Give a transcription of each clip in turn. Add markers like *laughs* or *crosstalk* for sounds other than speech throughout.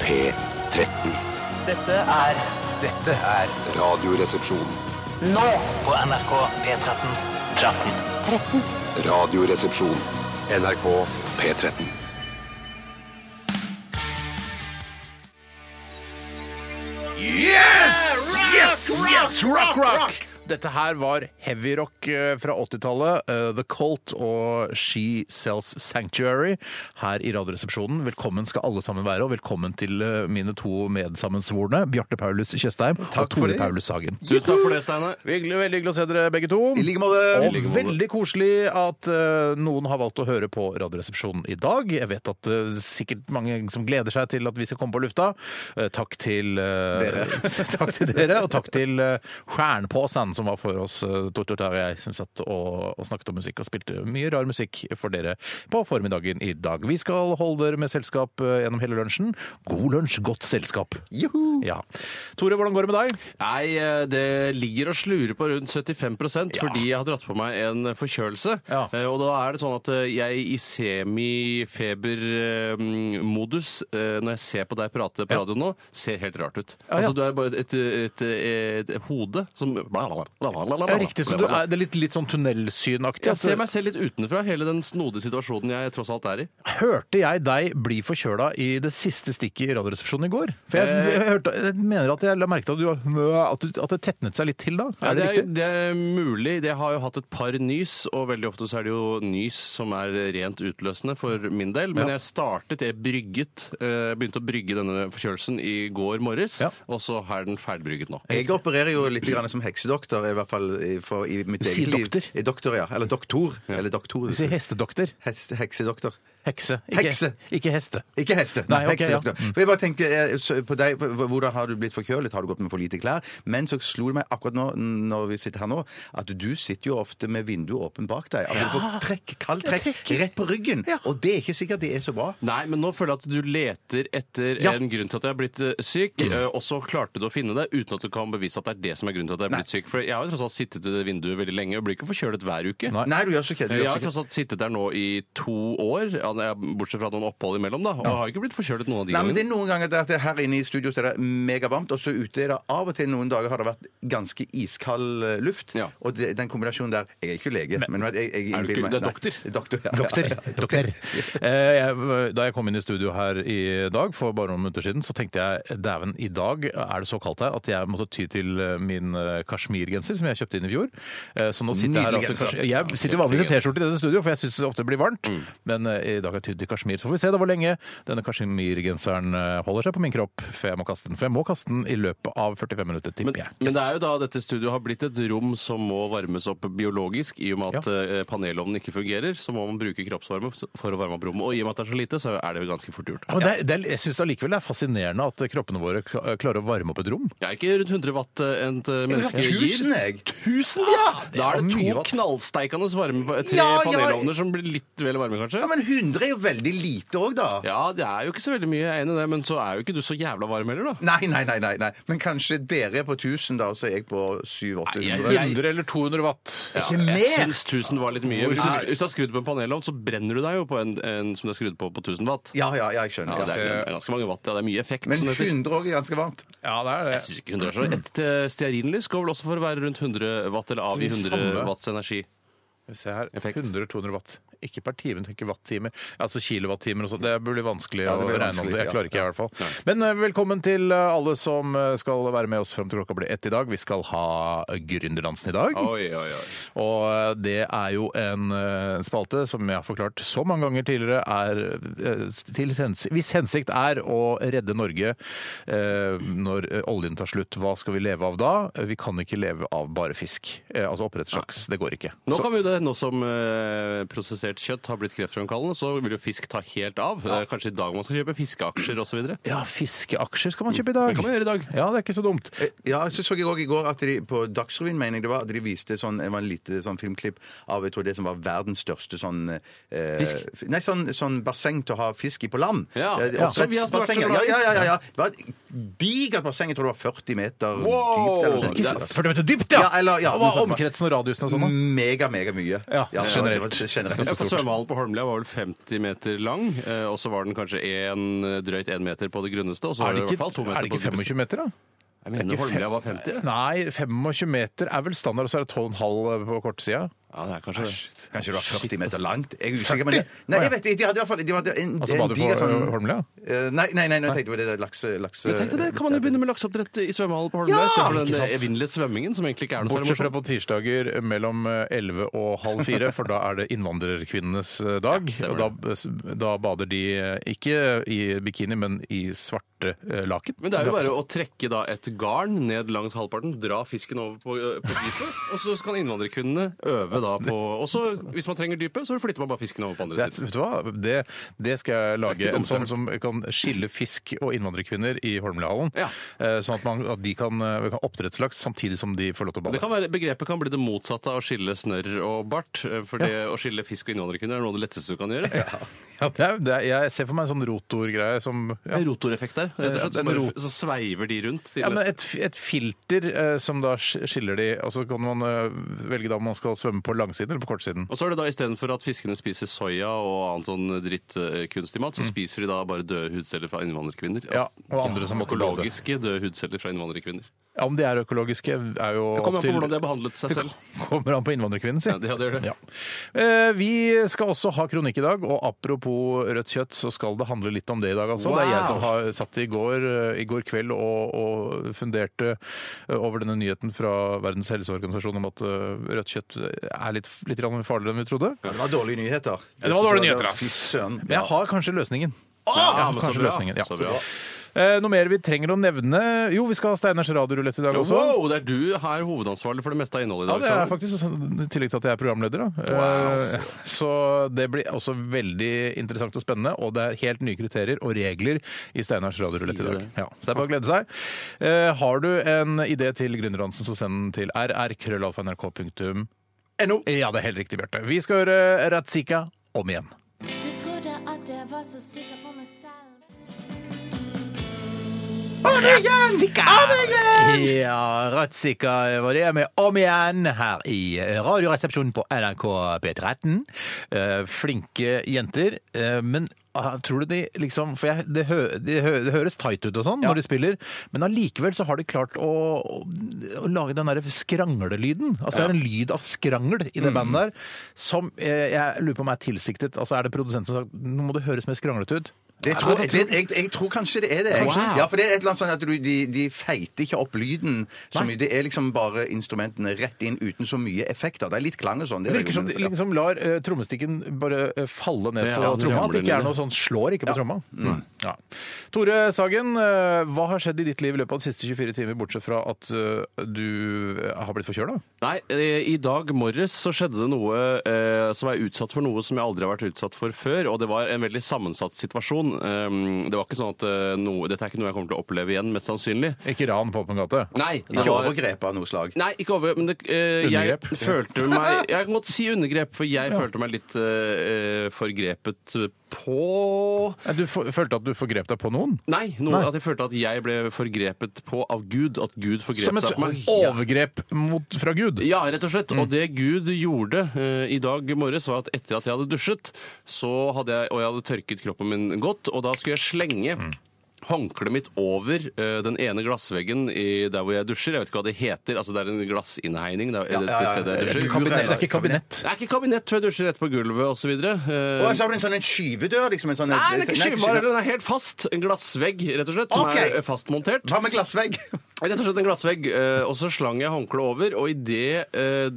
P13. Dette er Dette er Radioresepsjon. nå på NRK P13. Radioresepsjon. NRK P13. Yes, rock, rock! Dette her var heavy rock eh, fra 80-tallet. eh, The Cult og She Sells Sanctuary her i Radioresepsjonen. Velkommen skal alle sammen være, og velkommen til eh, mine to medsammensvorne, Bjarte Paulus Tjøstheim og for Tore det. Paulus Hagen. Tusen takk for det, Steinar. Hyggelig, veldig hyggelig å se dere begge to. I like måte. Og veldig koselig at eh, noen har valgt å høre på Radioresepsjonen i dag. Jeg vet at eh, sikkert mange som gleder seg til at vi skal komme på lufta. Eh, takk til dere. *laughs* takk til dere, og takk til uh, Stjernpåsen som var for oss, uh, Tortor Tare og jeg, som satt og, og snakket om musikk og spilte mye rar musikk for dere på formiddagen i dag. Vi skal holde dere med selskap eh, gjennom hele lunsjen. God lunsj, godt selskap. Ja. Tore, hvordan går det med deg? Nei, eh, det ligger og slurer på rundt 75 Ja. fordi jeg har dratt på meg en forkjølelse. Ja. Eh, Og da er det sånn at eh, jeg i semifebermodus, eh, når jeg ser på deg prate på Ja. radioen nå, ser helt rart ut. Ja, ja. Altså, du er bare et, et, et, et hode som Ja, riktig, så du er, det er litt, litt sånn tunnelsynaktig. Altså, Jeg ser at- meg selv litt utenfra, hele den snodige situasjonen jeg tross alt er i. Hørte jeg deg bli forkjøla i det siste stikket i Radioresepsjonen i går? For jeg, jeg, hørte, jeg mener at jeg la merke til at, du, at, du, at det tetnet seg litt til da. Ja, Er det, er, riktig? det er mulig. Jeg har jo hatt et par nys, og veldig ofte så er det jo nys som er rent utløsende for min del. Men Ja. jeg startet, jeg brygget, eh, begynte å brygge denne forkjølelsen i går morges, Ja. og så er den ferdigbrygget nå. Jeg opererer jo litt grann som heksedoktor, i hvert fall i, for, i mitt sier eget liv. doktor? Eh, Doktor, ja. Eller doktor. Eller doktor. Du sier hestedoktor. Hest, heksedoktor. Hekse. Ikke, Hekse. ikke heste. Ikke heste. Nei, ok, heksedoktor. ja. Mm. For jeg bare tenkte eh, så på deg, hv- Hvordan har du blitt forkjølet? Har du gått med for lite klær? Men så slo det meg akkurat nå når vi sitter her nå, at du sitter jo ofte med vinduet åpent bak deg. At du får trekk, kaldt trekk rett på ryggen. Og det er ikke sikkert det er så bra. Nei, men nå føler jeg at du leter etter Ja. en grunn til at jeg er blitt eh, syk, eh, og så klarte du å finne det uten at du kan bevise at det er det som er grunnen til at jeg er blitt syk. For jeg har jo tross alt sittet i det vinduet veldig lenge, og blir ikke forkjølet hver uke. Nei. Nei, du gjør så ikke det. Du Jeg gjør så har ikke det. tross alt sittet der nå i to år, altså, jeg- bortsett fra noen opphold imellom, da, og har ikke blitt forkjølet noen av de Nei, men det gangene. er noen ganger det at det her inne i studio så er det megavarmt, og så ute er det av og til noen dager har det vært ganske iskald eh, luft. Ja. Og det, den kombinasjonen der Jeg er ikke lege, men, jeg, jeg, jeg Er du innbiller ikke- meg- du er Nei, doktor. Ja, Doktor. *laughs* Ja, ja, Doktor. Eh, jeg- Da jeg kom inn i studio her i dag for bare noen minutter siden, så tenkte jeg dæven, i dag er det så kaldt her at jeg måtte ty til eh, min eh, kasjmirgenser som jeg kjøpte inn i fjor. Eh, Så nå sitter jeg her Nydelig altså, genser. kasj- Jeg sitter vanligvis i T-skjorte i dette studio, for jeg syns det ofte blir varmt. Men eh, i dag har jeg tydd til kasjmir. Så får vi se da hvor lenge denne kasjmirgenseren eh, holder seg på min kropp før jeg må kaste den. For jeg må kaste den i løpet av 45 minutter, tipper Men, jeg. men det er jo da dette studioet har blitt et rom som må varmes opp biologisk. I og med at Ja. eh, panelovnen ikke fungerer, så må man bruke kroppsvarme for å varme opp rommet. Og i og med at det er så lite, så er det jo ganske fort gjort. Ja, men det er, det er, jeg syns allikevel det er fascinerende at kroppene våre kla- klarer å varme opp et rom. Jeg er ikke rundt 100 watt eh, et eh, menneske gir. Tusen, jeg! Tusen, ja! det Da er er det mye to watt. knallsteikende varme, eh, tre Ja, ja. panelovner som blir litt vel varme, kanskje. Ja, Men 100 er jo veldig lite òg, da. Ja, det er jo ikke så veldig mye, jeg er enig i det, men så er jo ikke du så jævla varm heller, da. Nei, nei, nei, nei, nei. Men kanskje dere er på 1000, da, og så er jeg på 700-800. jeg- 100 eller 200 watt. Ikke Jeg mer! syns 1000 var litt mye. Hvis du, hvis du har skrudd på en panelovn, så brenner du deg jo på en, en som du har skrudd på på 1000 watt. Ja, ja, ja, jeg skjønner. Ja, det Ja. er det er ganske mange watt. Ja, det er mye effekt. Men som det heter. 100 òg er ganske varmt. Ja, det er Jeg synes ikke 100 er så Et eh, stearinlys går vel også for å være rundt 100 watt, eller av Så i det 100 samme. watts energi. Skal vi se her. Effekt. 100-200 watt. Ikke per time, tenker watt-timer. Altså kilowattimer og sånn. Det blir vanskelig Ja, det blir å regne vanskelig, om det. Jeg ja. klarer ikke, jeg, i hvert fall. Men eh, velkommen til eh, alle som eh, skal være med oss fram til klokka blir ett i dag. Vi skal ha eh, Gründerdansen i dag. Oi, oi, oi. Og eh, det er jo en eh, spalte som jeg har forklart så mange ganger tidligere, er eh, til hens hvis hensikt er å redde Norge eh, når eh, oljen tar slutt, hva skal vi leve av da? Eh, Vi kan ikke leve av bare fisk. Eh, altså oppdrettslaks. Det går ikke. Nå kan vi jo det, nå som eh, prosessert kjøtt har blitt kreftfremkallende, så vil jo fisk ta helt av. Eh, Kanskje i dag man skal kjøpe fiskeaksjer osv. Det Ja, fiskeaksjer skal man kjøpe i Mm. dag. Det kan man gjøre i dag. Ja, det er ikke så dumt. Eh, Ja, så så jeg òg i går at de på Dagsrevyen mener jeg det var, at de viste sånn, det var en lite sånn filmklipp av jeg tror det som var verdens største sånn eh, Fisk? Nei, sånn, sånn basseng til å ha fisk i på land. Ja, Eh, ja. Som vi har snakket oppdrettsbasseng. om. ja, ja, ja, ja, ja. Det var et digert basseng. Jeg tror det var 40 meter dypt. Eller noe Ikke så- sånt. 40 meter dypt, ja! Ja, eller- ja, Og hva noe sånt. Mm, omkretsen og radiusen og sånn. da? Mega, mega mye. Ja, det var- generelt. det var generelt. Skal Ja, stå for svømmehallen på Holmlia var vel 50 meter lang, eh, og så var den kanskje en, drøyt 1 meter på det grunneste, og så var Er det i det hvert fall 2 ikke, meter er det på ikke det dypeste. 25 meter, da? Jeg mener Holmlia var 50. Nei, 25 meter er vel standard, og så er det 12,5 på kortsida. Ja, det er kanskje det. Kanskje det var 40 altså. meter langt? Jeg er usikker, men det, nei, jeg vet ikke. De hadde i hvert fall de hadde en, Altså en bader på diger sånn- ø, Holmlia? Eh, Nei, nei, nei, nå tenkte jeg på det der lakse... lakse Men tenk deg det, kan man jo begynne med lakseoppdrett i svømmehallen på Holmlia, Ja, istedenfor ikke sant. den evinnelige svømmingen, som egentlig ikke er noe særlig Bortsett fra morsomt. på tirsdager mellom ø, 11 og halv fire, for da er det innvandrerkvinnenes ø, dag. stemmer og da, da bader de ø, ikke i bikini, men i svarte ø, laken. Men det er jo Som- bare å trekke da et garn ned langs halvparten, dra fisken over på, eh, på dypet, og så kan innvandrerkvinnene øve da på Og så, hvis man trenger dypet, så flytter man bare fisken over på andre det, siden. vet du hva? Det, det skal jeg Det er lage. ikke En dumt, sånn det. som kan skille fisk og innvandrerkvinner i Holmliahallen. Ja. Eh, Sånn at, man, at de kan, ø, kan ha oppdrettslaks samtidig som de får lov til å Det bade. kan være, begrepet kan bli det motsatte av å skille snørr og bart. For det å skille fisk og innvandrerkvinner er noe av det letteste du kan gjøre. Ja, det er, det er, jeg ser for meg en sånn rotorgreie som ja. Det er Rotoreffekt der. Rett og slett, Ja, så, det er bare, rot. f- så sveiver de rundt. Til Ja, men neste- et, et filter eh, som da sk- skiller de, og så kan man eh, velge da om man skal svømme på langsiden eller på kortsiden. Og så er det da Istedenfor at fiskene spiser soya og annen sånn drittkunstig mat, så spiser de da bare døde hudceller fra innvandrerkvinner. Mm. Ja, og andre som måtte bade. Økologiske døde hudceller fra innvandrerkvinner. Ja, Om de er økologiske, er jo Det kommer an opp på til hvordan de har behandlet seg selv. Kommer an på innvandrerkvinnen, si. Ja, det- ja, det gjør det. *laughs* Ja. Eh, Vi skal også ha kronikk i dag, og apropos rødt kjøtt, så skal det handle litt om det i dag, altså. Det er jeg som har satt i går, eh, i går kveld og, og funderte eh, over denne nyheten fra Verdens helseorganisasjon om at eh, rødt kjøtt er litt, litt grann farligere enn vi trodde. Ja, det var dårlige nyheter. Det var dårlige nyheter, Fy søren. Men jeg har kanskje løsningen. Ja, Ja, Ah, men så kanskje bra. løsningen. Ja. Så bra. Eh, noe mer vi trenger å nevne? Jo, vi skal ha Steiners radiorulett i dag også. Wow, det er du her hovedansvarlig for det meste av innholdet i Ja, dag. det er Sander. faktisk sånn, I tillegg til at jeg er programleder. Da. Eh, Så det blir også veldig interessant og spennende. Og det er helt nye kriterier og regler i Steinars radiorulett i dag. Ja, så det er bare å glede seg. Eh, Har du en idé til Gründer Hansen, så send den til rr.krøllalfa.nrk.no. Ja, det er helt riktig, Bjarte. Vi skal høre Ratzika om igjen. Du trodde at jeg var så sikker på meg selv. Ja, Ratzika var det med Om igjen her i Radioresepsjonen på NRK P13. Eh, Flinke jenter, eh, men ah, tror du de liksom For jeg, det, hø, det, hø, det høres tight ut og sånn når de spiller, men allikevel så har de klart å, å, å lage den derre skranglelyden. Altså det er en lyd av skrangel i det bandet der som eh, jeg lurer på om er tilsiktet. Altså er det produsenten som har sagt nå må det høres mer skranglete ut? Det tror, det, jeg, jeg tror kanskje det er det. jeg. Wow. Ja, for det er et eller annet sånn at du, de, de feiter ikke opp lyden så mye. Det er liksom bare instrumentene rett inn uten så mye effekter. Det er litt klang og sånn. Det er virker som de jo- liksom lar eh, trommestikken bare eh, falle ned Ja, på den tromma. At ramler det ikke ned. Mm. er noe sånn slår ikke på tromma. Mm. Ja. Tore Sagen, eh, hva har skjedd i ditt liv i løpet av de siste 24 timer, bortsett fra at eh, du har blitt forkjøla? Nei, eh, i dag morges så skjedde det noe eh, som jeg er utsatt for noe som jeg aldri har vært utsatt for før, og det var en veldig sammensatt situasjon. Um, det var ikke sånn at eh, noe, dette er ikke noe jeg kommer til å oppleve igjen, mest sannsynlig. Ikke ran på åpen gate? Nei, det Ikke var... overgrep av noe slag. Nei, ikke over, men det, eh, jeg Undergrep. følte *laughs* meg Jeg kan godt si undergrep, for jeg følte meg litt eh, eh, forgrepet på Eh, Du f følte at du forgrep deg på noen? Nei, noe, Nei. at jeg følte at jeg ble forgrepet på av Gud. At Gud forgrep Som et sånn seg på meg. overgrep mot, fra Gud? Ja, rett og slett. Mm. Og det Gud gjorde eh, i dag morges, var at etter at jeg hadde dusjet, så hadde jeg, og jeg hadde tørket kroppen min godt, og da skulle jeg slenge Mm. Håndkleet mitt over eh, den ene glassveggen i, der hvor jeg dusjer. Jeg vet ikke hva det heter. altså Det er en glassinnhegning. Det, er- det, det stedet jeg dusjer. Kabinett, det er ikke kabinett. Det er ikke kabinett hvor jeg dusjer rett på gulvet osv. Å, så har du en sånn en skyvedør, liksom? En sånn, Nei, Eh, det er ikke skyvbar heller. Den er helt fast. En glassvegg, rett og slett, som Ok. er eh, fastmontert. Hva med glassvegg? Rett og slett en glassvegg, eh, og så slang jeg håndkleet over, og idet eh,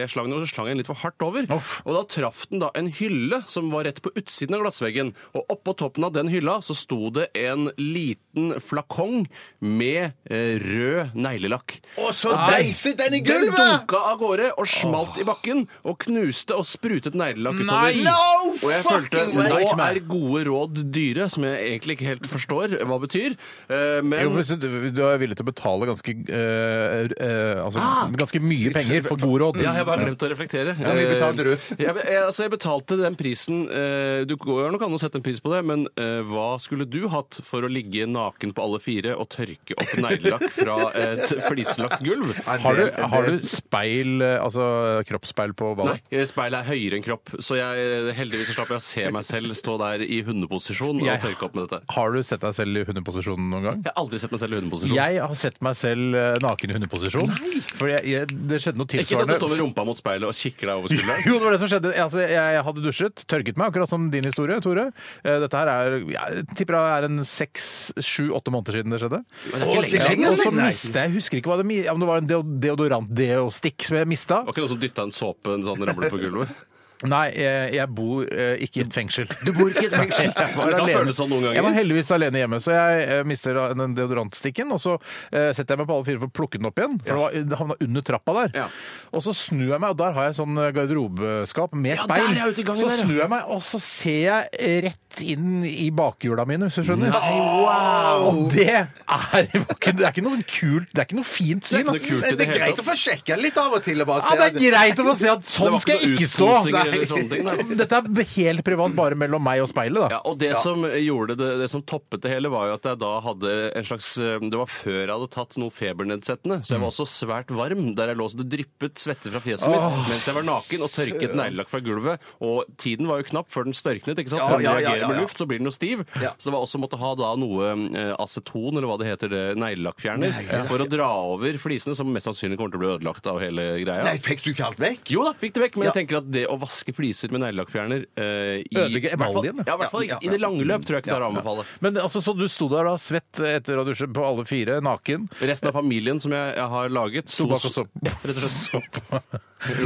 jeg slang den, over, så slang jeg den litt for hardt over. Uff. Og da traff den da en hylle som var rett på utsiden av glassveggen, og oppå toppen av den hylla så sto det en liten flakong med eh, rød neglelakk. Å, så Nei. deiset den i Den gulvet! dunka av gårde og smalt i bakken og knuste og sprutet neglelakk utover. Nei! No og jeg følte fucking way! nå er gode råd dyre, som jeg egentlig ikke helt forstår hva betyr. Eh, Men Jo, for hvis du, du er villig til å betale ganske, eh, eh, altså, ganske mye penger for god råd. Ah! Ja, jeg har bare glemt å reflektere. Hvor mye betalte du? Eh, Jeg, jeg, altså, jeg betalte den prisen eh, Du går nok an å sette en pris på det, men eh, hva skulle du hatt for å ligge naken på alle fire og tørke opp neglelakk fra et flislagt gulv? Har du, har du speil, eh, altså kroppsspeil på Nei, badet? eh, speilet er høyere enn kropp, så jeg, heldigvis så slapp jeg å se meg selv stå der i hundeposisjon og Jeg- tørke opp med dette. Har du sett deg selv i hundeposisjon noen gang? Jeg har aldri sett meg selv i hundeposisjon. Jeg har sett meg selv eh, naken i hundeposisjon. For jeg, jeg, det skjedde noe Ikke sånn at tilsvarende. du står med rumpa mot speilet og kikker deg over skulderen. *laughs* Jo, det var det som skjedde. Altså, jeg hadde dusjet, tørket meg, akkurat som din historie, Tore. Eh, Dette her er, jeg tipper det er en seks, sju, åtte måneder siden det skjedde. det er ikke Og- lenge siden, ja, Og så nei. mistet jeg, jeg husker ikke hva det, mi- ja, om det var en deo- deodorant, deostikk som jeg mista. Var ikke noen som dytta en såpe en sånn ramlet på gulvet? Nei, jeg, jeg bor eh, ikke i et fengsel. Du bor ikke i et fengsel? *laughs* Jeg var, Det kan alene. føles sånn noen ganger. jeg var heldigvis alene hjemme, så jeg eh, mister da den deodorantstikken. Og så eh, setter jeg meg på alle fire for å plukke den opp igjen, for det, var, det havna under trappa der. Ja. Og så snur jeg meg, og der har jeg sånn garderobeskap med Ja, speil. der er jeg ute i gangen så der, ja. snur jeg meg, og så ser jeg eh, rett inn i bakhjula mine, hvis du skjønner. Og det er, *laughs* det er ikke noe kult, det er ikke noe fint Det er syn. ikke noe ass. kult i Det det er hele greit å tatt. få sjekka litt av og til. og bare Ja, det er se at- greit å få si at Det sånn var skal jeg noe ikke stå! utposing Nei. eller sånne ting, nei. *laughs* Dette er helt privat, bare mellom meg og speilet, Ja, da. og det som gjorde det, det som toppet det hele, var jo at jeg da hadde en slags eh, Det var før jeg hadde tatt noe febernedsettende, så jeg var også svært varm der jeg lå så det dryppet svette fra fjeset mitt mens jeg var naken og tørket neglelakk fra gulvet. Og tiden var jo knapp før den størknet, ikke sant? Ja, Når den ja, ja, reagerer ja, med ja. luft, så blir den jo stiv. Så det var også måtte ha da noe eh, aceton, eller hva det heter, det neglelakkfjerner, for å dra over flisene, som mest sannsynlig kommer til å bli ødelagt av hele greia. Nei, fikk du ikke alt vekk? Jo da, fikk det vekk, men jeg tenker at det å vaske fliser med neglelakkfjerner eh, i- Ødelegger i hvert fall- emaljen, ja. Ja, i hvert fall Ja, ja, i det lange løp tror jeg ikke det er å anbefale. Men altså, så du sto der da, svett etter å ha dusjet på alle fire, *laughs* naken. Resten av familien som jeg, jeg har laget Sto bak og så Ja, *laughs* rett og slett. så på.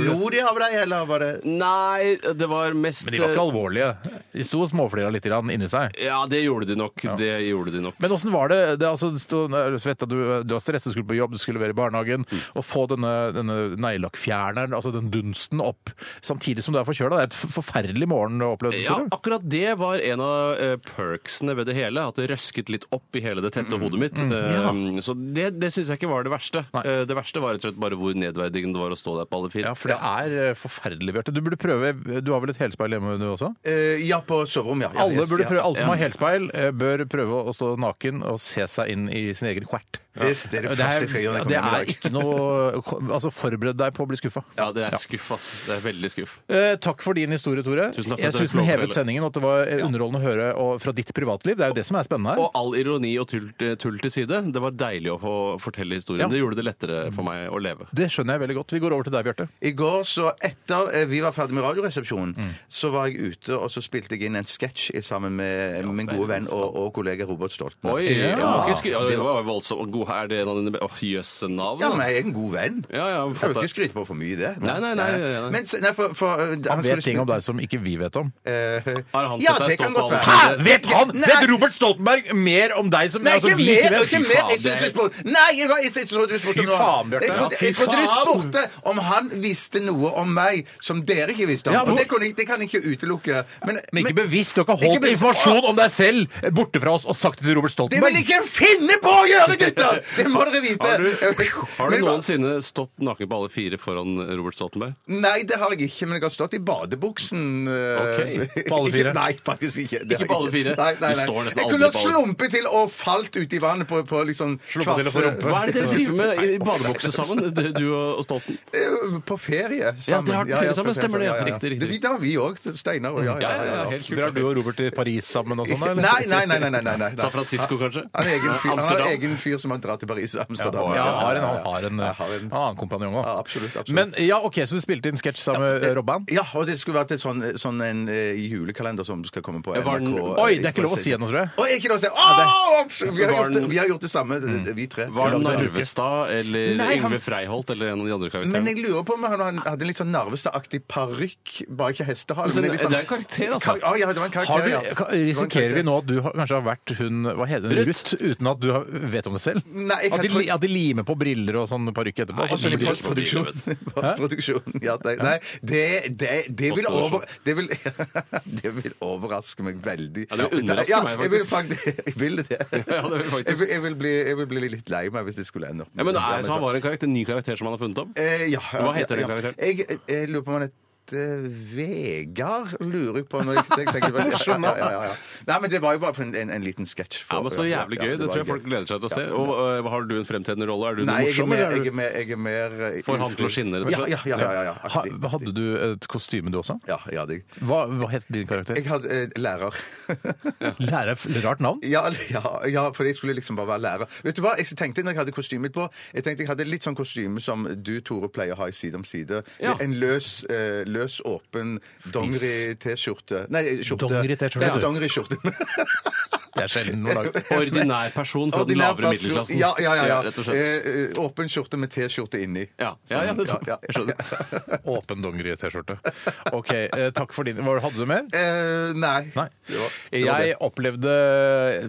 Lo de av deg, eller var det Nei, det var mest eh, Men de var ikke alvorlige. De sto og småflira litt grann inni seg. Ja, det gjorde de nok. Det gjorde de nok. Men åssen var det? det altså, det sto, svetta, du, du var stresset, du skulle på jobb, du skulle være i barnehagen. Mm. Å få denne, denne neglelakkfjerneren, altså den dunsten, opp samtidig som du er forkjøla. Det er et f- forferdelig morgen du opplevde. Ja, Tore. akkurat det var en av eh, perksene ved det hele. At det røsket litt opp i hele det tette hodet mitt. Eh, Så det, det syns jeg ikke var det verste. Mm. Nei. Eh, Det verste var rett og slett bare hvor nedverdigende det var å stå der på alle fire. Ja, for det er eh, forferdelig, Bjarte. Du burde prøve Du har vel et helspeil hjemme, du også? Eh, Ja, på soverommet, ja. ja. Alle, yes, burde ja. prøve, alle som har helspeil, eh, bør prøve å stå naken og se seg inn i sin egen kvert. Det, det er det første jeg skal gjøre. når jeg det kommer hjem i er dag. ikke noe Altså, forbered deg på å bli skuffa. Ja, det er skuff, ass. Det er veldig skuff. Eh, takk for din historie, Tore. Tusen takk for at jeg dere syns fikk lov den til å hevet dele. sendingen, og at det var eh, underholdende å høre og, fra ditt privatliv. Det er jo det som er spennende her. Og all ironi og tull, eh, tull til side. Det var deilig å få fortelle historien. Ja. Det gjorde det lettere for meg å leve. Det skjønner jeg veldig godt. Vi går over til deg, Bjarte. I går, så etter eh, vi var ferdig med Radioresepsjonen, så var jeg ute og så spilte jeg inn en sketsj i- sammen med min gode venn og, og kollega Robert Stolten. Oi, Ja. jeg må ikke skry- ja, det var voldsomt. God, er det en av dine be- Åh, jøsse navn? Ja, da. men jeg er en god venn. Ja, ja, Jeg fått kan jo det. ikke skryte på for mye i det. Nei, nei, nei, nei, nei. Men, s- nei for, for, eh, Han skulle vet ting om spille- deg som ikke vi vet om. Eh, Har han ja, sett deg det stå kan på godt alle være. fire? Hæ! Vet han? Nei. Vet Robert Stoltenberg mer om deg som Nei, altså, ikke vi mer! Ikke vet? mer. Jeg synes du spurte Nei, jeg var- jeg synes du spurte Fy om noe faen, annet. Bjarte. Jeg trodde, Ja, fy jeg trodde du faen. spurte om han visste noe om meg som dere ikke visste om. Ja, hvor- og det, kunne, jeg- det kan jeg ikke utelukke. Men, Men ikke bevisst. Du har ikke Ikke holdt bevisst. informasjon om deg selv borte fra oss og sagt det til Robert Det vil Stoltenberg. ikke jeg finne på å gjøre, gutter! Det må dere vite. Har du, *laughs* har du Men- noensinne stått naken på alle fire foran Robert Stoltenberg? Nei, det har jeg ikke, men jeg har stått i badebuksen. eh, Ok, på alle fire? *laughs* Ikke, nei, faktisk ikke. Det har Ikke på alle jeg fire? Nei, nei, Du nei. står nesten Jeg aldri kunne på ha alle- slumpet til og falt uti vannet på, på liksom Slumpet til og kvasse- fått rumpe. Hva er det *laughs* dere driver med i- i badebukse sammen, det- du og og Stolten? Eh, På ferie sammen. dere har vært på ferie sammen, stemmer det, ja. Riktig, riktig. Det, det har vi òg. Steinar og ja. ja, ja, ja, helt Drar du og Robert til Paris sammen og sånn, Nei, eller? nei, nei. nei, nei, nei, nei. San Francisco, kanskje? Han er egen fyr, han har Amsterdam. egen fyr som han drar til Paris og Amsterdam. Ja, han har en, han har en, Jeg har han har en kompanjong òg. Ja, absolutt, absolutt. Men ja, OK, så du spilte inn sketsj sammen med Robban? Ja, og det skulle vært et sånn, sånn en eh, julekalender som skal komme på Var NRK. den- Oi, det er ikke lov å si ennå, tror jeg. Oi, er ikke lov å si Åh, vi, har Var gjort det, den- vi har gjort det samme, vi tre. Var det Narvestad eller Nei, han- Yngve Freiholt eller en av de andre Men karakterene? jeg lurer på om han han hadde en litt sånn Narvestad-aktig parykk, bare ikke hestehale. Så men det- litt sånn- det er en karakter, altså. Kar- Ja, ja, det var en Altså, Har karakter, du, ja. ka- risikerer vi nå at du har, kanskje har vært hun hva heter hun, Ruth, uten at du har, vet om det selv? Nei, jeg At de, tror- li- at de limer på briller og sånn parykk etterpå. Nei, sånn at ikke det blir- på briller, *laughs* vet du. Postproduksjon. Ja, det, nei, det, det, det, vil over, Postproduksjon. det, vil, *laughs* det vil overraske meg veldig. Ja, det vil underraske Ja, meg, jeg vil faktisk. *laughs* Jeg vil det. *laughs* Ja, det vil faktisk. Jeg, vil, jeg, vil bli, jeg vil bli litt lei meg hvis det skulle ende opp Ja, med men det. er, så han var en, karakter, en ny karakter som han har funnet opp? Eh, ja, ja, Hva heter ja, den karakteren? Ja. Jeg, jeg lurer på om han heter Vegard, lurer jeg på. Når jeg tenker, tenker, *laughs* ja, ja, ja, ja. Nei, men det var jo bare for en, en, en liten sketsj. for- Ja, men Så jævlig ja, gøy. Det var tror jeg folk gleder seg til å se. Og øh, Har du en fremtredende rolle? Er du Nei, noe jeg er morsom? mer, eller er jeg du- er mer, jeg er mer eh, Får han til å ufri. skinne, rett og slett? Ja, ja, ja. ja, ja, Ha, aktig. hadde du et kostyme, du også? Ja, ja, det- Hva, hva het din karakter? Jeg hadde eh, lærer. Lærer f- Rart navn. *laughs* ja, ja, ja, for jeg skulle liksom bare være lærer. Vet du hva jeg tenkte når jeg hadde kostymet på? Jeg tenkte jeg hadde litt sånn kostyme som du, Tore, pleier å ha i Side om side. Ja. En løs, eh, løs åpen dongeri-T-skjorte. Nei, eh, skjorte. Dongeri-T-skjorte, Ja, *laughs* du. dongeri-skjorte. Sånn Det er sjelden noe lag. Ordinær person fra den Ordinær lavere person. middelklassen. Ja, ja, ja. ja. Rett og slett. Eh, eh, åpen skjorte med T-skjorte inni. Ja, ja, ja, det tror jeg. Ja, ja, Jeg skjønner. Åpen dongeri-T-skjorte. OK, eh, takk for din. Hva- Hadde du mer? Eh, nei. Nei. Det var- det var Jeg det. opplevde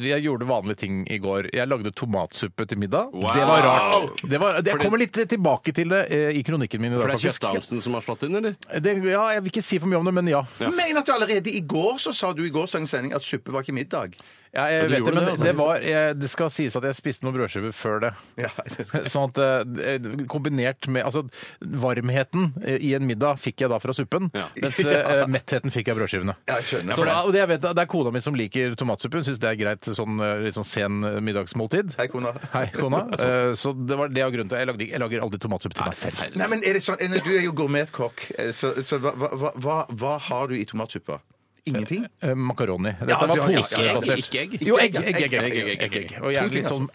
Jeg gjorde vanlige ting i går. Jeg lagde tomatsuppe til middag. Wow! Det var rart. Det var, jeg Fordi- kommer litt tilbake til det eh, i kronikken min i For dag, det er faktisk. kjøttangsten som har slått inn, eller? Det, ja, jeg vil ikke si for mye om det, men ja. Ja. Men at du allerede i går så sa du i gårsdagens sending at suppe var ikke middag. ja du jeg vet gjorde det, men det, altså. det, var, jeg, det skal sies at jeg spiste noen brødskiver før det. Ja. *laughs* *laughs* Sånn at eh, Kombinert med altså, varmheten eh, i en middag fikk jeg da fra suppen, *laughs* Ja. mens eh, mettheten fikk jeg av brødskivene. Ja, jeg skjønner. Så, da- og det, jeg vet, det er kona mi som liker tomatsuppe. Hun syns det er greit sånn, eh, litt sånn sen middagsmåltid. Hei, kona. Hei, *laughs* kona. Altså- Eh, Så det var det jeg har grunn til. Jeg, lagde, jeg lager aldri tomatsuppe til meg selv. Forferdelig. Nei, men er det sånn, Einar, Du er jo gourmetkokk, eh, så, så hva, hva- hva, hva, hva har du i tomatsuppa? Ingenting? Eh, Makaroni. Dette Ja, var du har- ja, ja, ja. posebasert. Ikke egg, ikke egg. Jo, egg, egg, egg. Ikke egg, egg, egg, egg, egg. Og To gjerne ting, litt sånn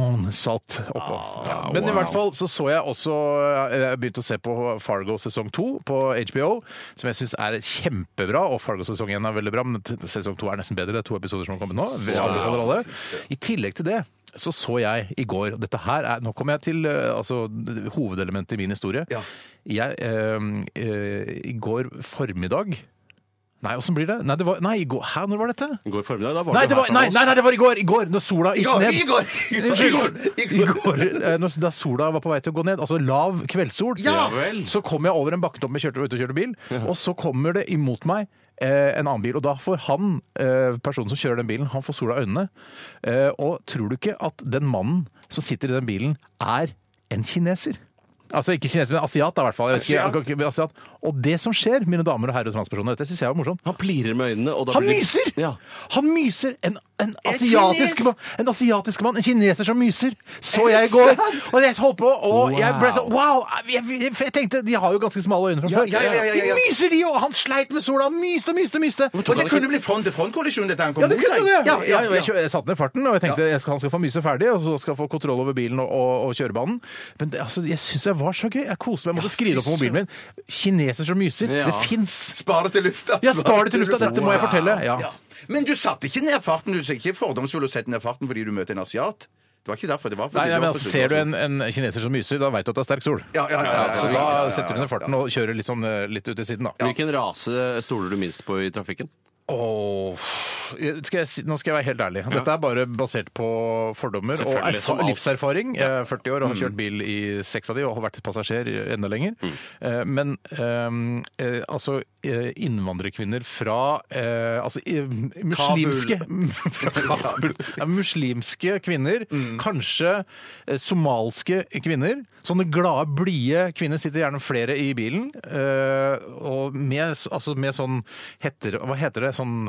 maldon-salt oppå. Ja. Men Ah, i wow. hvert fall så så jeg også eh, Jeg begynte å se på Fargo sesong to på HBO, som jeg syns er kjempebra. Og Fargo sesong én er veldig bra, men t- sesong to er nesten bedre. Det er to episoder som har kommet nå. Vi anbefaler alle. I tillegg til det så så jeg i går og dette her er, Nå kommer jeg til eh, altså, hovedelementet i min historie. Ja. Jeg, eh, eh, I går formiddag Nei, åssen blir det? Nei, det var, nei i går, hæ, når var dette? I går formiddag da var Nei, du det her var, sammen nei, med oss. nei, nei, det var i går! I går, når sola gikk går, ned. i går, i går, i går, i går. I går, eh, når, da sola var på vei til å gå ned, altså lav kveldssol, Ja vel. så kom jeg over en bakketopp med kjørte, ute og kjørte bil, og så kommer det imot meg eh, en annen bil, og da får han, eh, personen som kjører den bilen, han får sola i øynene. Eh, og tror du ikke at den mannen som sitter i den bilen, er en kineser? Altså ikke kineser, men asiat da, i hvert fall. Jeg vet ikke, jeg kan ikke- asiat. Og det som skjer, mine damer og herrer og transpersoner, dette synes jeg var morsomt, Han plirer med øynene, og da han blir det- myser! Ja. Han myser! En, en, asiatisk mann, en asiatisk mann, en kineser som myser, så jeg i går. Og jeg holdt på, og jeg ble sånn Wow! Jeg, jeg, jeg tenkte, De har jo ganske smale øyne fra før. ja, ja, ja, ja, ja. De myser, de jo! Han sleit med sola, han myste, myste, myste. Og det kunne blitt front-til-front-kollisjon, dette. Han kom Ja, det mot kunne deg. jo det! Ja, ja, Jeg, kjø- jeg satte ned farten, og jeg tenkte jeg skal, han skal få myse ferdig, og så skal jeg få kontroll over bilen og, og, og kjørebanen. Men det, altså, jeg syns jeg var så gøy. Jeg koste meg. Jeg måtte skrive det opp på mobilen min. Kineser som myser. Ja. Det fins! Spar det til lufta. Jeg spar det til lufta, dette må jeg fortelle. Ja. Ja. Men du satte ikke ned farten. Du er ikke fordomsfull å sette ned farten fordi du møter en asiat. Det var ikke derfor. det var fordi Nei, nei, du men var altså, på Ser du en, en kineser som myser, da veit du at det er sterk sol. Ja, ja, ja, ja, ja, ja, Så ja, ja, ja, da ja. setter du ned farten og kjører litt, sånn, eh, litt ut til siden, da. Hvilken rase stoler du minst på i trafikken? Åh, skal jeg, si- nå skal jeg være helt ærlig. Dette er bare basert på fordommer og Selvfølgelig, erfa som alt. livserfaring. Jeg er 40 år og har kjørt bil i seks av de og har vært passasjer enda lenger. Eh, Men ehm, eh, altså eh, innvandrerkvinner fra eh, altså i- muslimske *laughs* Fra Kabul. Ja, Muslimske kvinner, kanskje eh, somalske kvinner. Sånne glade, blide kvinner sitter gjerne flere i bilen. eh, Og med, s- altså med sånn hetter Hva heter det? Sånn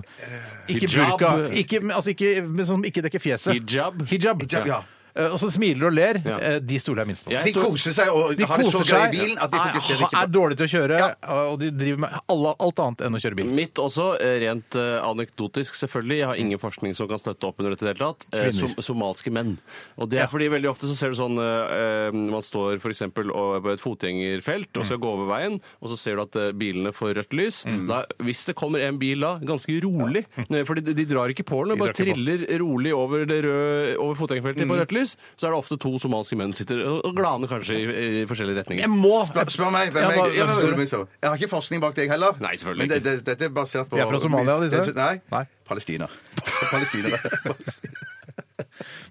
Ikke Hijab. burka. Ikke, men altså ikke, men som ikke dekker fjeset. Hijab. Hijab. Hijab, ja. Eh, Og så smiler og ler. Ja. Eh, De stoler jeg minst på. Jeg De stoler- koser seg og De har det så koser gøy i seg, Ah, bilen at de fokuserer er, ikke er på dårlige til å kjøre, eh, og de driver med alle- alt annet enn å kjøre bil. Mitt også, eh, rent eh, anekdotisk selvfølgelig. Jeg har ingen forskning som kan støtte opp under dette i det hele tatt. Eh, Mm. Kvinner. som- Somalske menn. Og det er fordi veldig ofte så ser du sånn eh, eh, Man står for eksempel og- på et fotgjengerfelt og skal Mm. gå over veien, og så ser du at eh, bilene får rødt lys. Da, hvis det kommer en bil da, ganske rolig eh, *laughs* Fordi de, de drar ikke på den, og bare drar ikke på. Mm. triller rolig over, det røde, over fotgjengerfeltet på rødt lys, så er det ofte to somalske menn sitter og, og glaner kanskje i, i forskjellige retninger. Jeg må! Spør, spør meg. Hvem Ja, jeg, hva- ja, hva hva- spør du? hva- så. jeg har ikke forskning bak deg heller. Nei, selvfølgelig Men det, det, dette er basert på *laughs* De er fra Somalia, disse? Nei. Nei. Palestina. Palestinere.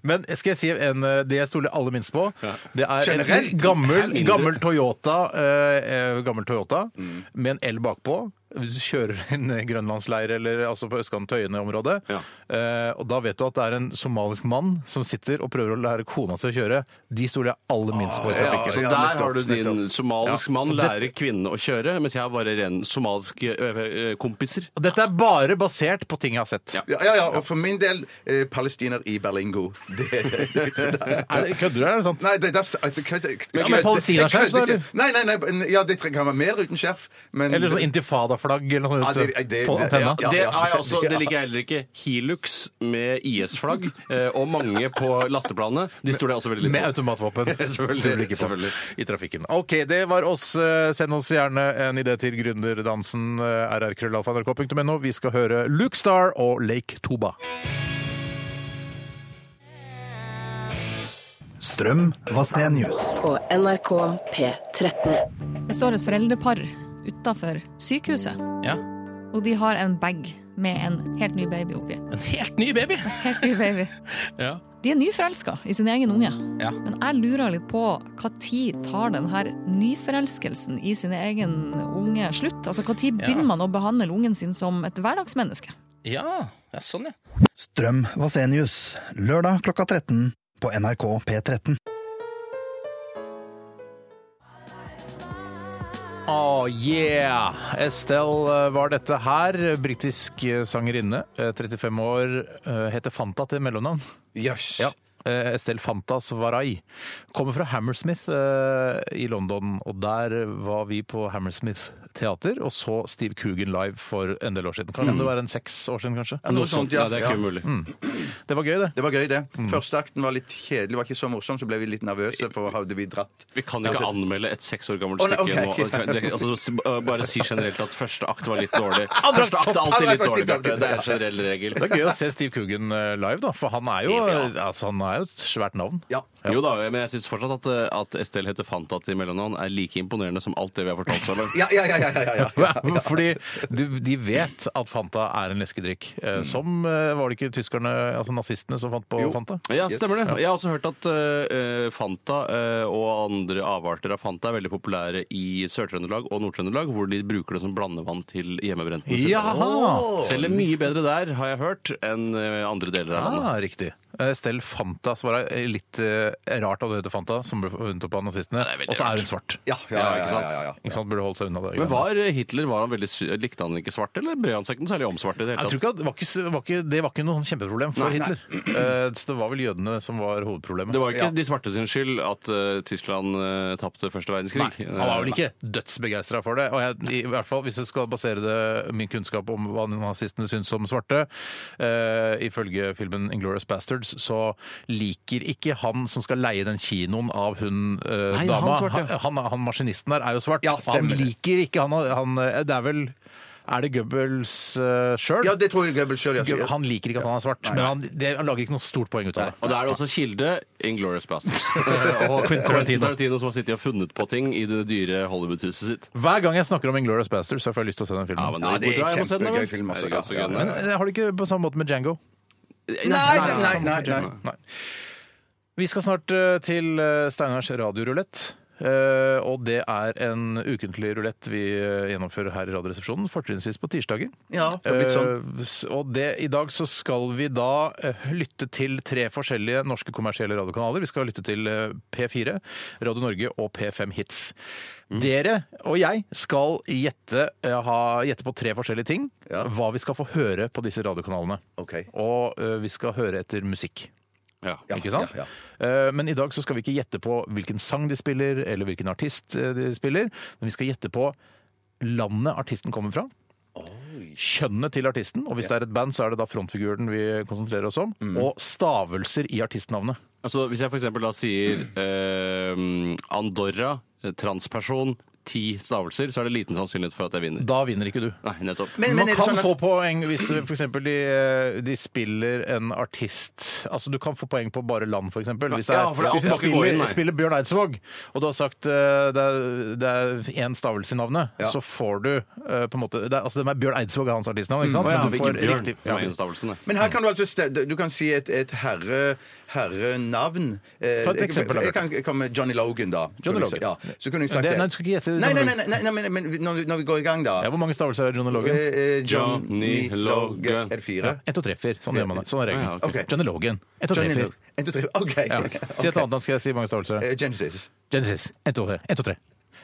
Men skal jeg si en, eh, det jeg stoler aller minst på, det er en Generelt? gammel, Herregud. gammel Toyota, eh, eh, gammel Toyota Mm. med en el bakpå. Hvis du kjører *laughs* inn i grønlandsleir eller altså på Østkant-Tøyene-området, eh, og da vet du at det er en somalisk mann som sitter og prøver å lære kona si å kjøre. De stoler jeg aller minst på i Ah, ja, trafikken. Så ja, der nettopp, har du din nettopp. somalisk mann lærer kvinne å kjøre, mens jeg har bare ren somaliske ø, ø, kompiser. Og Dette er bare basert på ting jeg har sett. Ja. Ja, ja, ja, og for min del eh, palestiner i Berlingo. *laughs* Det, Er det, kødder du, eller er det sant? Nei, det, det, altså, kødde, Ja, men palestinaskjerf, da, eller? Nei, nei, nei, ja, det kan være mer uten skjerf, men Eller sånn intifada-flagg eller noe Ja, sånt det- det- det- på det- antenna. Ja, Det, *laughs* ja. er jeg også, det liker jeg heller ikke. Hilux med IS-flagg eh, og mange på lasteplanet. De stoler jeg også veldig Med litt på. automatvåpen. Selvfølgelig, Stoler ikke på selvfølgelig. I trafikken. OK, det var oss. Eh, Send oss gjerne en idé til gründerdansen eh, rrkrøllalfa.nrk.no. Vi skal høre Luke Star og Lake Toba. Strøm Vasenius. på NRK P13. Det står et foreldrepar utafor sykehuset, Ja. og de har en bag med en helt ny baby oppi. En helt ny baby! Helt ny baby. *laughs* Ja. De er nyforelska i sin egen unge. Ja. Men jeg lurer litt på hva tid tar den her nyforelskelsen i sin egen unge slutt? Altså hva tid begynner man å behandle ungen sin som et hverdagsmenneske? Ja, ja sånn, ja. Strøm Vasenius. Lørdag klokka 13 på NRK P13. Oh yeah! Estelle eh, var dette her. Britisk eh, sangerinne. eh, 35 år. eh, Heter Fanta til mellomnavn. Jøss. Ja. Eh, Estelle Fantas Varai. Kommer fra Hammersmith eh, i London, og der var vi på Hammersmith teater og så Steve Coogan live for en del år siden. Kan det være en seks år siden, kanskje? Mm. Ja, noe sånt, ja. Nei, Sånn, det er ja. Mm. ikke umulig. Det var gøy, det. Det var gøy, det. Første akten var litt kjedelig, var ikke så morsom, så ble vi litt nervøse, for hadde vi dratt Vi kan ikke anmelde et seks år gammelt Å, nei, stykke ok. nå. Det, altså, s- bare si generelt at første akt var litt dårlig. Andre Første akt er alltid Andre litt akt var dårlig, litt Bjarte. dårlig. Det er en generell regel. Det er gøy å se Steve Coogan eh, live, da, for han er jo, altså, han er jo et svært navn. Ja. Jo da, men jeg syns fortsatt at, eh, at Estelle heter Fanta til mellomnavn er like imponerende som alt det vi har fortalt så langt. Ja, ja, ja, ja, ja, ja, ja. *laughs* Fordi du, de vet at Fanta er en leskedrikk. Mm. eh, Som eh, var det ikke tyskerne, altså nazistene, som fant på Fanta? Ja, stemmer det. Jeg har også hørt at eh, Fanta eh, og andre avarter av Fanta er veldig populære i Sør-Trøndelag og Nord-Trøndelag, hvor de bruker det som blandevann til hjemmebrenten sin. Jaha! Selger mye bedre der, har jeg hørt, enn eh, andre deler av landet. Ah, riktig. Eh, Stell Fanta svarer jeg, litt eh, rart at hun heter Fanta, som ble funnet opp av nazistene. det er veldig Og så rart. er hun svart. Ja, ja, ja, ja, ja, ja, ja. Ikke sant? Burde holdt seg unna det. Men var Hitler var han veldig, sy- Likte han ikke svart, eller brød han seg ikke noe særlig om svart? i det jeg hele tatt? tror ikke at, det, var ikke, s- var ikke, det var ikke noe sånn kjempeproblem for Nei, nei. Hitler. Eh, så det var vel jødene som var hovedproblemet. Det var jo ikke de svarte sin skyld at eh, Tyskland uh, tapte første verdenskrig. Nei, han var vel ikke dødsbegeistra for det. Og jeg, i hvert fall Hvis jeg skal basere det, min kunnskap om hva nazistene syns om svarte, eh, ifølge filmen 'Inglorious Bastards', så liker ikke han som skal leie den kinoen av hun eh, Nei, han dama svart, ja. han, han, han maskinisten der er jo svart. Ja, han stemmer det. liker ikke han, han eh, Det er vel Er det Goebbels uh, sjøl? Ja, det tror jeg Goebbels sjøl sier. han liker ikke at han er svart, men han, det, han lager ikke noe stort poeng ut av det. Og da er det også kilde Inglorious Bastards. og Quentin Tarantino. Tarantino som har sittet og funnet på ting i det dyre Hollywood-huset sitt. Hver gang jeg snakker om Inglorious Bastards, så får jeg lyst til å se den filmen. Ja, men Ja, det hvor er bra jeg må sende den, kjempegøy vel? film, Herregud, altså. så gøy den Ja, ja, ja. er. Men eh, har du ikke på samme måte med Django? Nei, nei, nei, nei, nei. Nei. Vi skal snart eh, til eh, Steinars radiorulett. Eh, og det er en ukentlig rulett vi eh, gjennomfører her i Radioresepsjonen, fortrinnsvis på tirsdager. Ja, det har blitt sånn. Eh, s- og det, I dag så skal vi da eh, lytte til tre forskjellige norske kommersielle radiokanaler. Vi skal lytte til eh, P4, Radio Norge og P5 Hits. Mm. Dere og jeg skal gjette, eh, ha, gjette på tre forskjellige ting. Ja. Hva vi skal få høre på disse radiokanalene. OK. Og eh, vi skal høre etter musikk. Ja. Ja, Ikke sant? Ja, ja. Eh, Men i dag så skal vi ikke gjette på hvilken sang de spiller, eller hvilken artist eh, de spiller, men vi skal gjette på landet artisten kommer fra. Kjønnet til artisten, og hvis det er et band, så er det da frontfiguren vi konsentrerer oss om. Mm. Og stavelser i artistnavnet. Altså, hvis jeg for eksempel da sier eh, Andorra, eh, transperson, ti stavelser, så er det liten sannsynlighet for at jeg vinner. Da vinner ikke du. Nei, nettopp. Men- Man er det kan sånn at- få poeng hvis f.eks. De, eh, de spiller en artist Altså Du kan få poeng på bare land, f.eks. Hvis, det er- Ja, for det- hvis de alt må ikke gå inn, spiller, nei. spiller Bjørn Eidsvåg, og du har sagt eh, det er- det er én stavelse i navnet, Ja. så får du eh, på en måte det er, Altså det er Bjørn Eidsvåg er hans artistnavn, ikke sant? Mm. Å ja, Men du får hvilken bjørn? riktig- Ja, en stavelse, nei. Men her kan du altså ste- Du kan si et, et herre, herrenavn. Eh, Ta et eksempel, da, Jeg kan komme med Johnny Logan, da. Johnny Kunne du si- Logan. Ja. Så kunne jeg sagt Det- det. nei, du skal ikke gjette Nei, nei, Johnny nei, nei, nei, men- men når, vi- når vi går i gang, da. Ja, hvor mange stavelser er Johnny Logan? Eh, eh, Johnny Johnny Logan. Logan. Er det fire? Ett og tre, fire. Sånn gjør man det. Sånn er regelen. Ja, ok. Ok. Johnny Logan. Ett og tre, Johnny fire. Logan. En, to, tre. OK. Ja. Si et Ok. annet, da skal jeg si mange stavelser. Eh, Genesis. Genesis. Ett og tre. Ett og tre.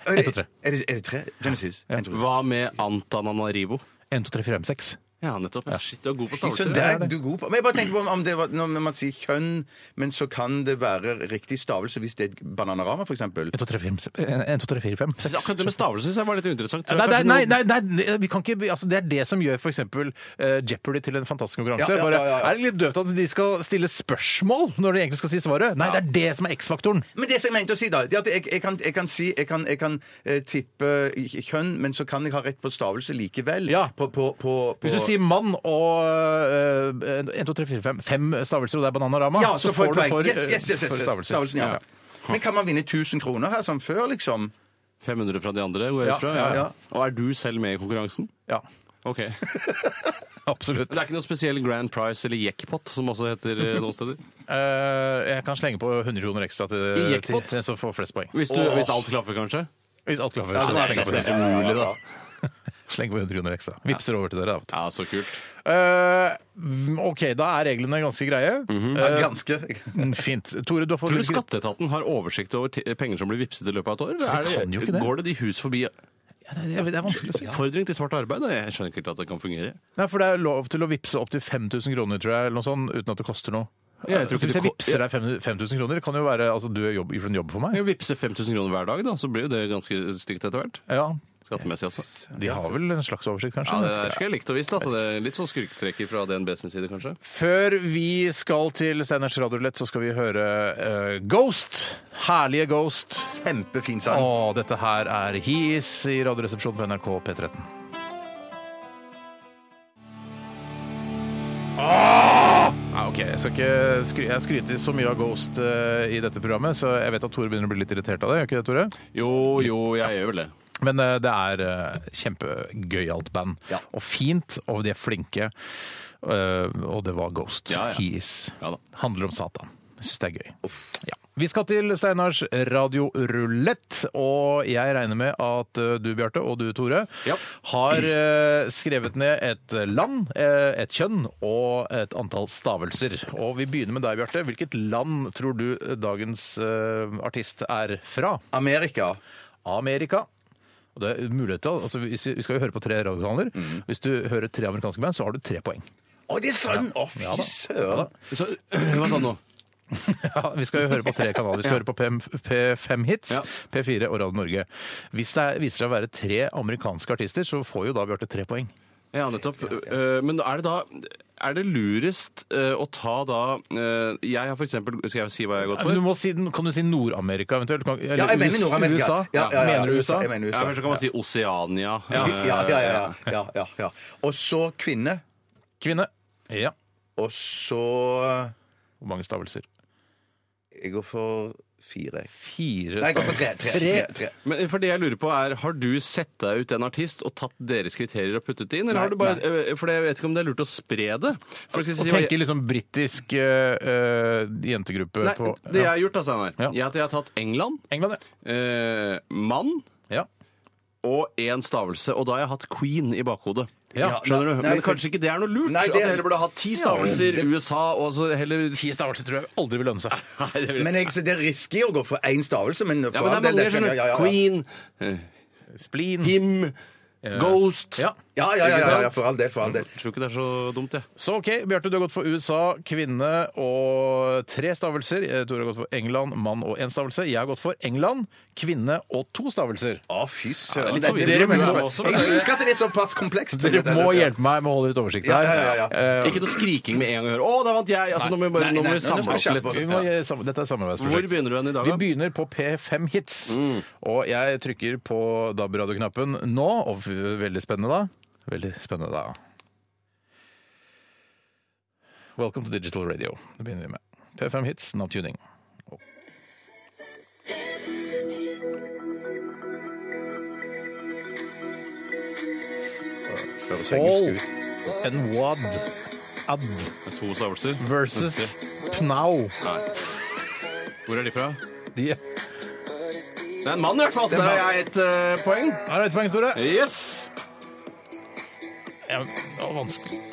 Er Ett og det, tre. er det, er det tre? Genesis. En, to, tre. Hva med Antananarivo? En, to, tre, fire, fem, seks. Ja, nettopp. Ja. Shit, du er god på Så stavelser. det er du god på. Men jeg bare tenker på om- om det var, når når man sier kjønn, men så kan det være riktig stavelse hvis det er et Bananarama, for eksempel. En, to, tre, fire, fem, seks. En, to, tre, fire, fem, Jeg synes Akkurat det med stavelser synes jeg var litt uinteressant. Nei, nei, nei, nei, nei, vi kan ikke, altså det er det som gjør f.eks. Uh, Jeopardy til en fantastisk konkurranse. Ja, ja, ja, ja. Bare, er det litt døvt at de skal stille spørsmål når de egentlig skal si svaret? Nei, det er det som er X-faktoren. Men det som jeg mente å si, da det er at jeg, jeg, kan, jeg kan si Jeg kan, jeg kan eh, tippe kjønn, men så kan jeg ha rett på stavelse likevel. Ja. På, på, på, på Hvis du sier mann og uh, 1, 2, 3, 4, 5, fem stavelser, og det er Bananarama, ja, så, får du poeng. for, Yes, yes, yes, eh, yes, for yes. stavelser. Stavelsen, ja. Men kan man vinne 1000 kroner her som før, liksom? 500 fra de andre går jeg Ja, ut fra. ja, ja. Og er du selv med i konkurransen? Ja, Ok. Men absolutt. det er ikke noe spesiell Grand Prize eller Jackpot, som også heter eh, noen steder? Eh, jeg kan slenge på 100 kroner ekstra til, I til, jackpot? til så får flest poeng. Hvis, du, hvis alt klaffer, kanskje? Hvis alt klaffer. Ja, så det er sleng på helt 100. umulig, da. Sleng på 100 kroner ekstra. Vipser over til dere. da, vet du. Ja, så kult. Eh, OK, da er reglene ganske greie. Ja, ganske. Mm, Fint. Tore, du har fått Tror du Skatteetaten har oversikt over ti- penger som blir vippset i løpet av et år? eller Ja, de er kan jo ikke det. Går det de hus forbi? Ja, det, er- det er vanskelig å si. Oppfordring til svart arbeid? da. Jeg skjønner ikke helt at det kan fungere. Nei, for det er lov til å vippse opp til 5000 kroner, tror jeg, eller noe sånt, uten at det koster noe. Ja, jeg tror så ikke hvis jeg det ko- vippser deg 5000 kroner, det kan jo være altså, du gjør jobb, gjør en jobb for meg. Jeg vippser 5000 kroner hver dag, da, så blir jo det ganske stygt etter hvert. Ja, Skattemessig, altså. De har vel en slags oversikt, kanskje? Ja, det Jeg der vet ikke. skulle jeg likt å visst. da, at det er Litt sånn skurkestreker fra DNB sin side, kanskje. Før vi skal til Steiners radiorulett, så skal vi høre eh, Ghost. Herlige Ghost. Kjempefin sang. Og dette her er His i Radioresepsjonen på NRK P13. Nei, ok, Jeg skal ikke skry jeg skryter så mye av Ghost eh, i dette programmet, så jeg vet at Tore begynner å bli litt irritert av det. gjør ikke det, Tore? Jo, jo, jeg gjør vel det. Men eh, det er uh, kjempegøyalt band. Ja. Og fint, og de er flinke. Eh, og det var Ghost. Ja, ja. He is. Ja da. Handler om Satan. Jeg syns det er gøy. Ja. Vi skal til Steinars radiorulett, og jeg regner med at eh, du, Bjarte, og du, Tore, Ja. har eh, skrevet ned et land, eh, et kjønn og et antall stavelser. Og vi begynner med deg, Bjarte. Hvilket land tror du dagens eh, artist er fra? Amerika. Amerika. Og det er mulighet til, altså Vi vi skal jo høre på tre radiokanaler. Mm. Hvis du hører tre amerikanske band, så har du tre poeng. Å, det er sånn! Å, fy Ja da. søren! Så, *clears throat* hva sa du nå? Ja, vi skal jo høre på tre kanaler. Vi skal høre på PM P5 Hits, Ja. P4 og Radio Norge. Hvis det er- viser seg å være tre amerikanske artister, så får jo da Bjarte tre poeng. Ja, nettopp. Eh, Men er det da er det lurest eh, å ta da eh, Jeg har for eksempel Skal jeg si hva jeg har gått Du for? må si, kan du si Nord-Amerika eventuelt? Kan- Eller Ja, jeg mener Nord-Amerika. USA? Ja, ja, ja, Mener du USA? Jeg mener Ja, USA. men så kan man si Eh, Oseania. Ja, ja, ja. ja, ja, ja. Og så kvinne. Kvinne? Ja. Og så Hvor mange stavelser? Jeg går for fire. Fire Nei, jeg går for tre. tre, tre, tre. Men for det jeg lurer på er, Har du sett deg ut en artist og tatt deres kriterier og puttet det inn? Eller har du bare, eh, for jeg vet ikke om det er lurt å spre det. For jeg skal Og si hva jeg- tenker liksom britisk eh, eh, jentegruppe Nei, på det jeg har gjort, da, Steinar, Ja. er at jeg har tatt England, England, eh, mann ja. og én stavelse. Og da har jeg hatt Queen i bakhodet. Ja, Ja, Skjønner du? nei, Men for- kanskje ikke det er noe lurt? Nei, det- At jeg heller burde hatt ti stavelser USA, og så heller Ti stavelser tror jeg aldri vil lønne seg. Nei, det vil- Men jeg, så det er risky å gå for én stavelse, men for Ja, men all det er mange, del, det skjønner skjønner jeg. Ja, du. ja, ja. Queen, eh, Spleen. Him, eh, Ghost Ja. Ja, ja, ja, ja, ja, for all del, for all del. Jeg tror ikke det er så dumt, jeg. Så OK, Bjarte, du har gått for USA, kvinne og tre stavelser. Eh, Tore har gått for England, mann og én stavelse. Jeg har gått for England, kvinne og to stavelser. Å, fy søren. litt Nei, det- forvirring det- mellom oss også, Jeg liker at det er såpass komplekst. Dere Det- det- må det- hjelpe meg med å holde litt oversikt Ja, her. ja, ja, ja. Eh, Ikke noe skriking med en gang. og høre, Å, der vant jeg! Altså, nå må vi bare Nei, nå nei, må nei, vi nå skal samle vi oss kjappe litt. vi må, gi sam- dette er samarbeidsprosjekt. Hvor begynner du hen i dag, Vi da? begynner på P5 Hits. Mm. Og jeg trykker på DAB-radioknappen nå. Og f- veldig spennende, da. Veldig spennende, da. Welcome to digital radio. Det begynner vi med. P5 Hits, no tuning. Og- Høres engelsk Paul ut. and Wad Ad Med to stavelser. versus Pnau. Hvor er de fra? De Det er en mann, i hvert fall. så Der har jeg et eh, poeng. Her er et poeng, Tore. Yes! Ja, det var vanskelig.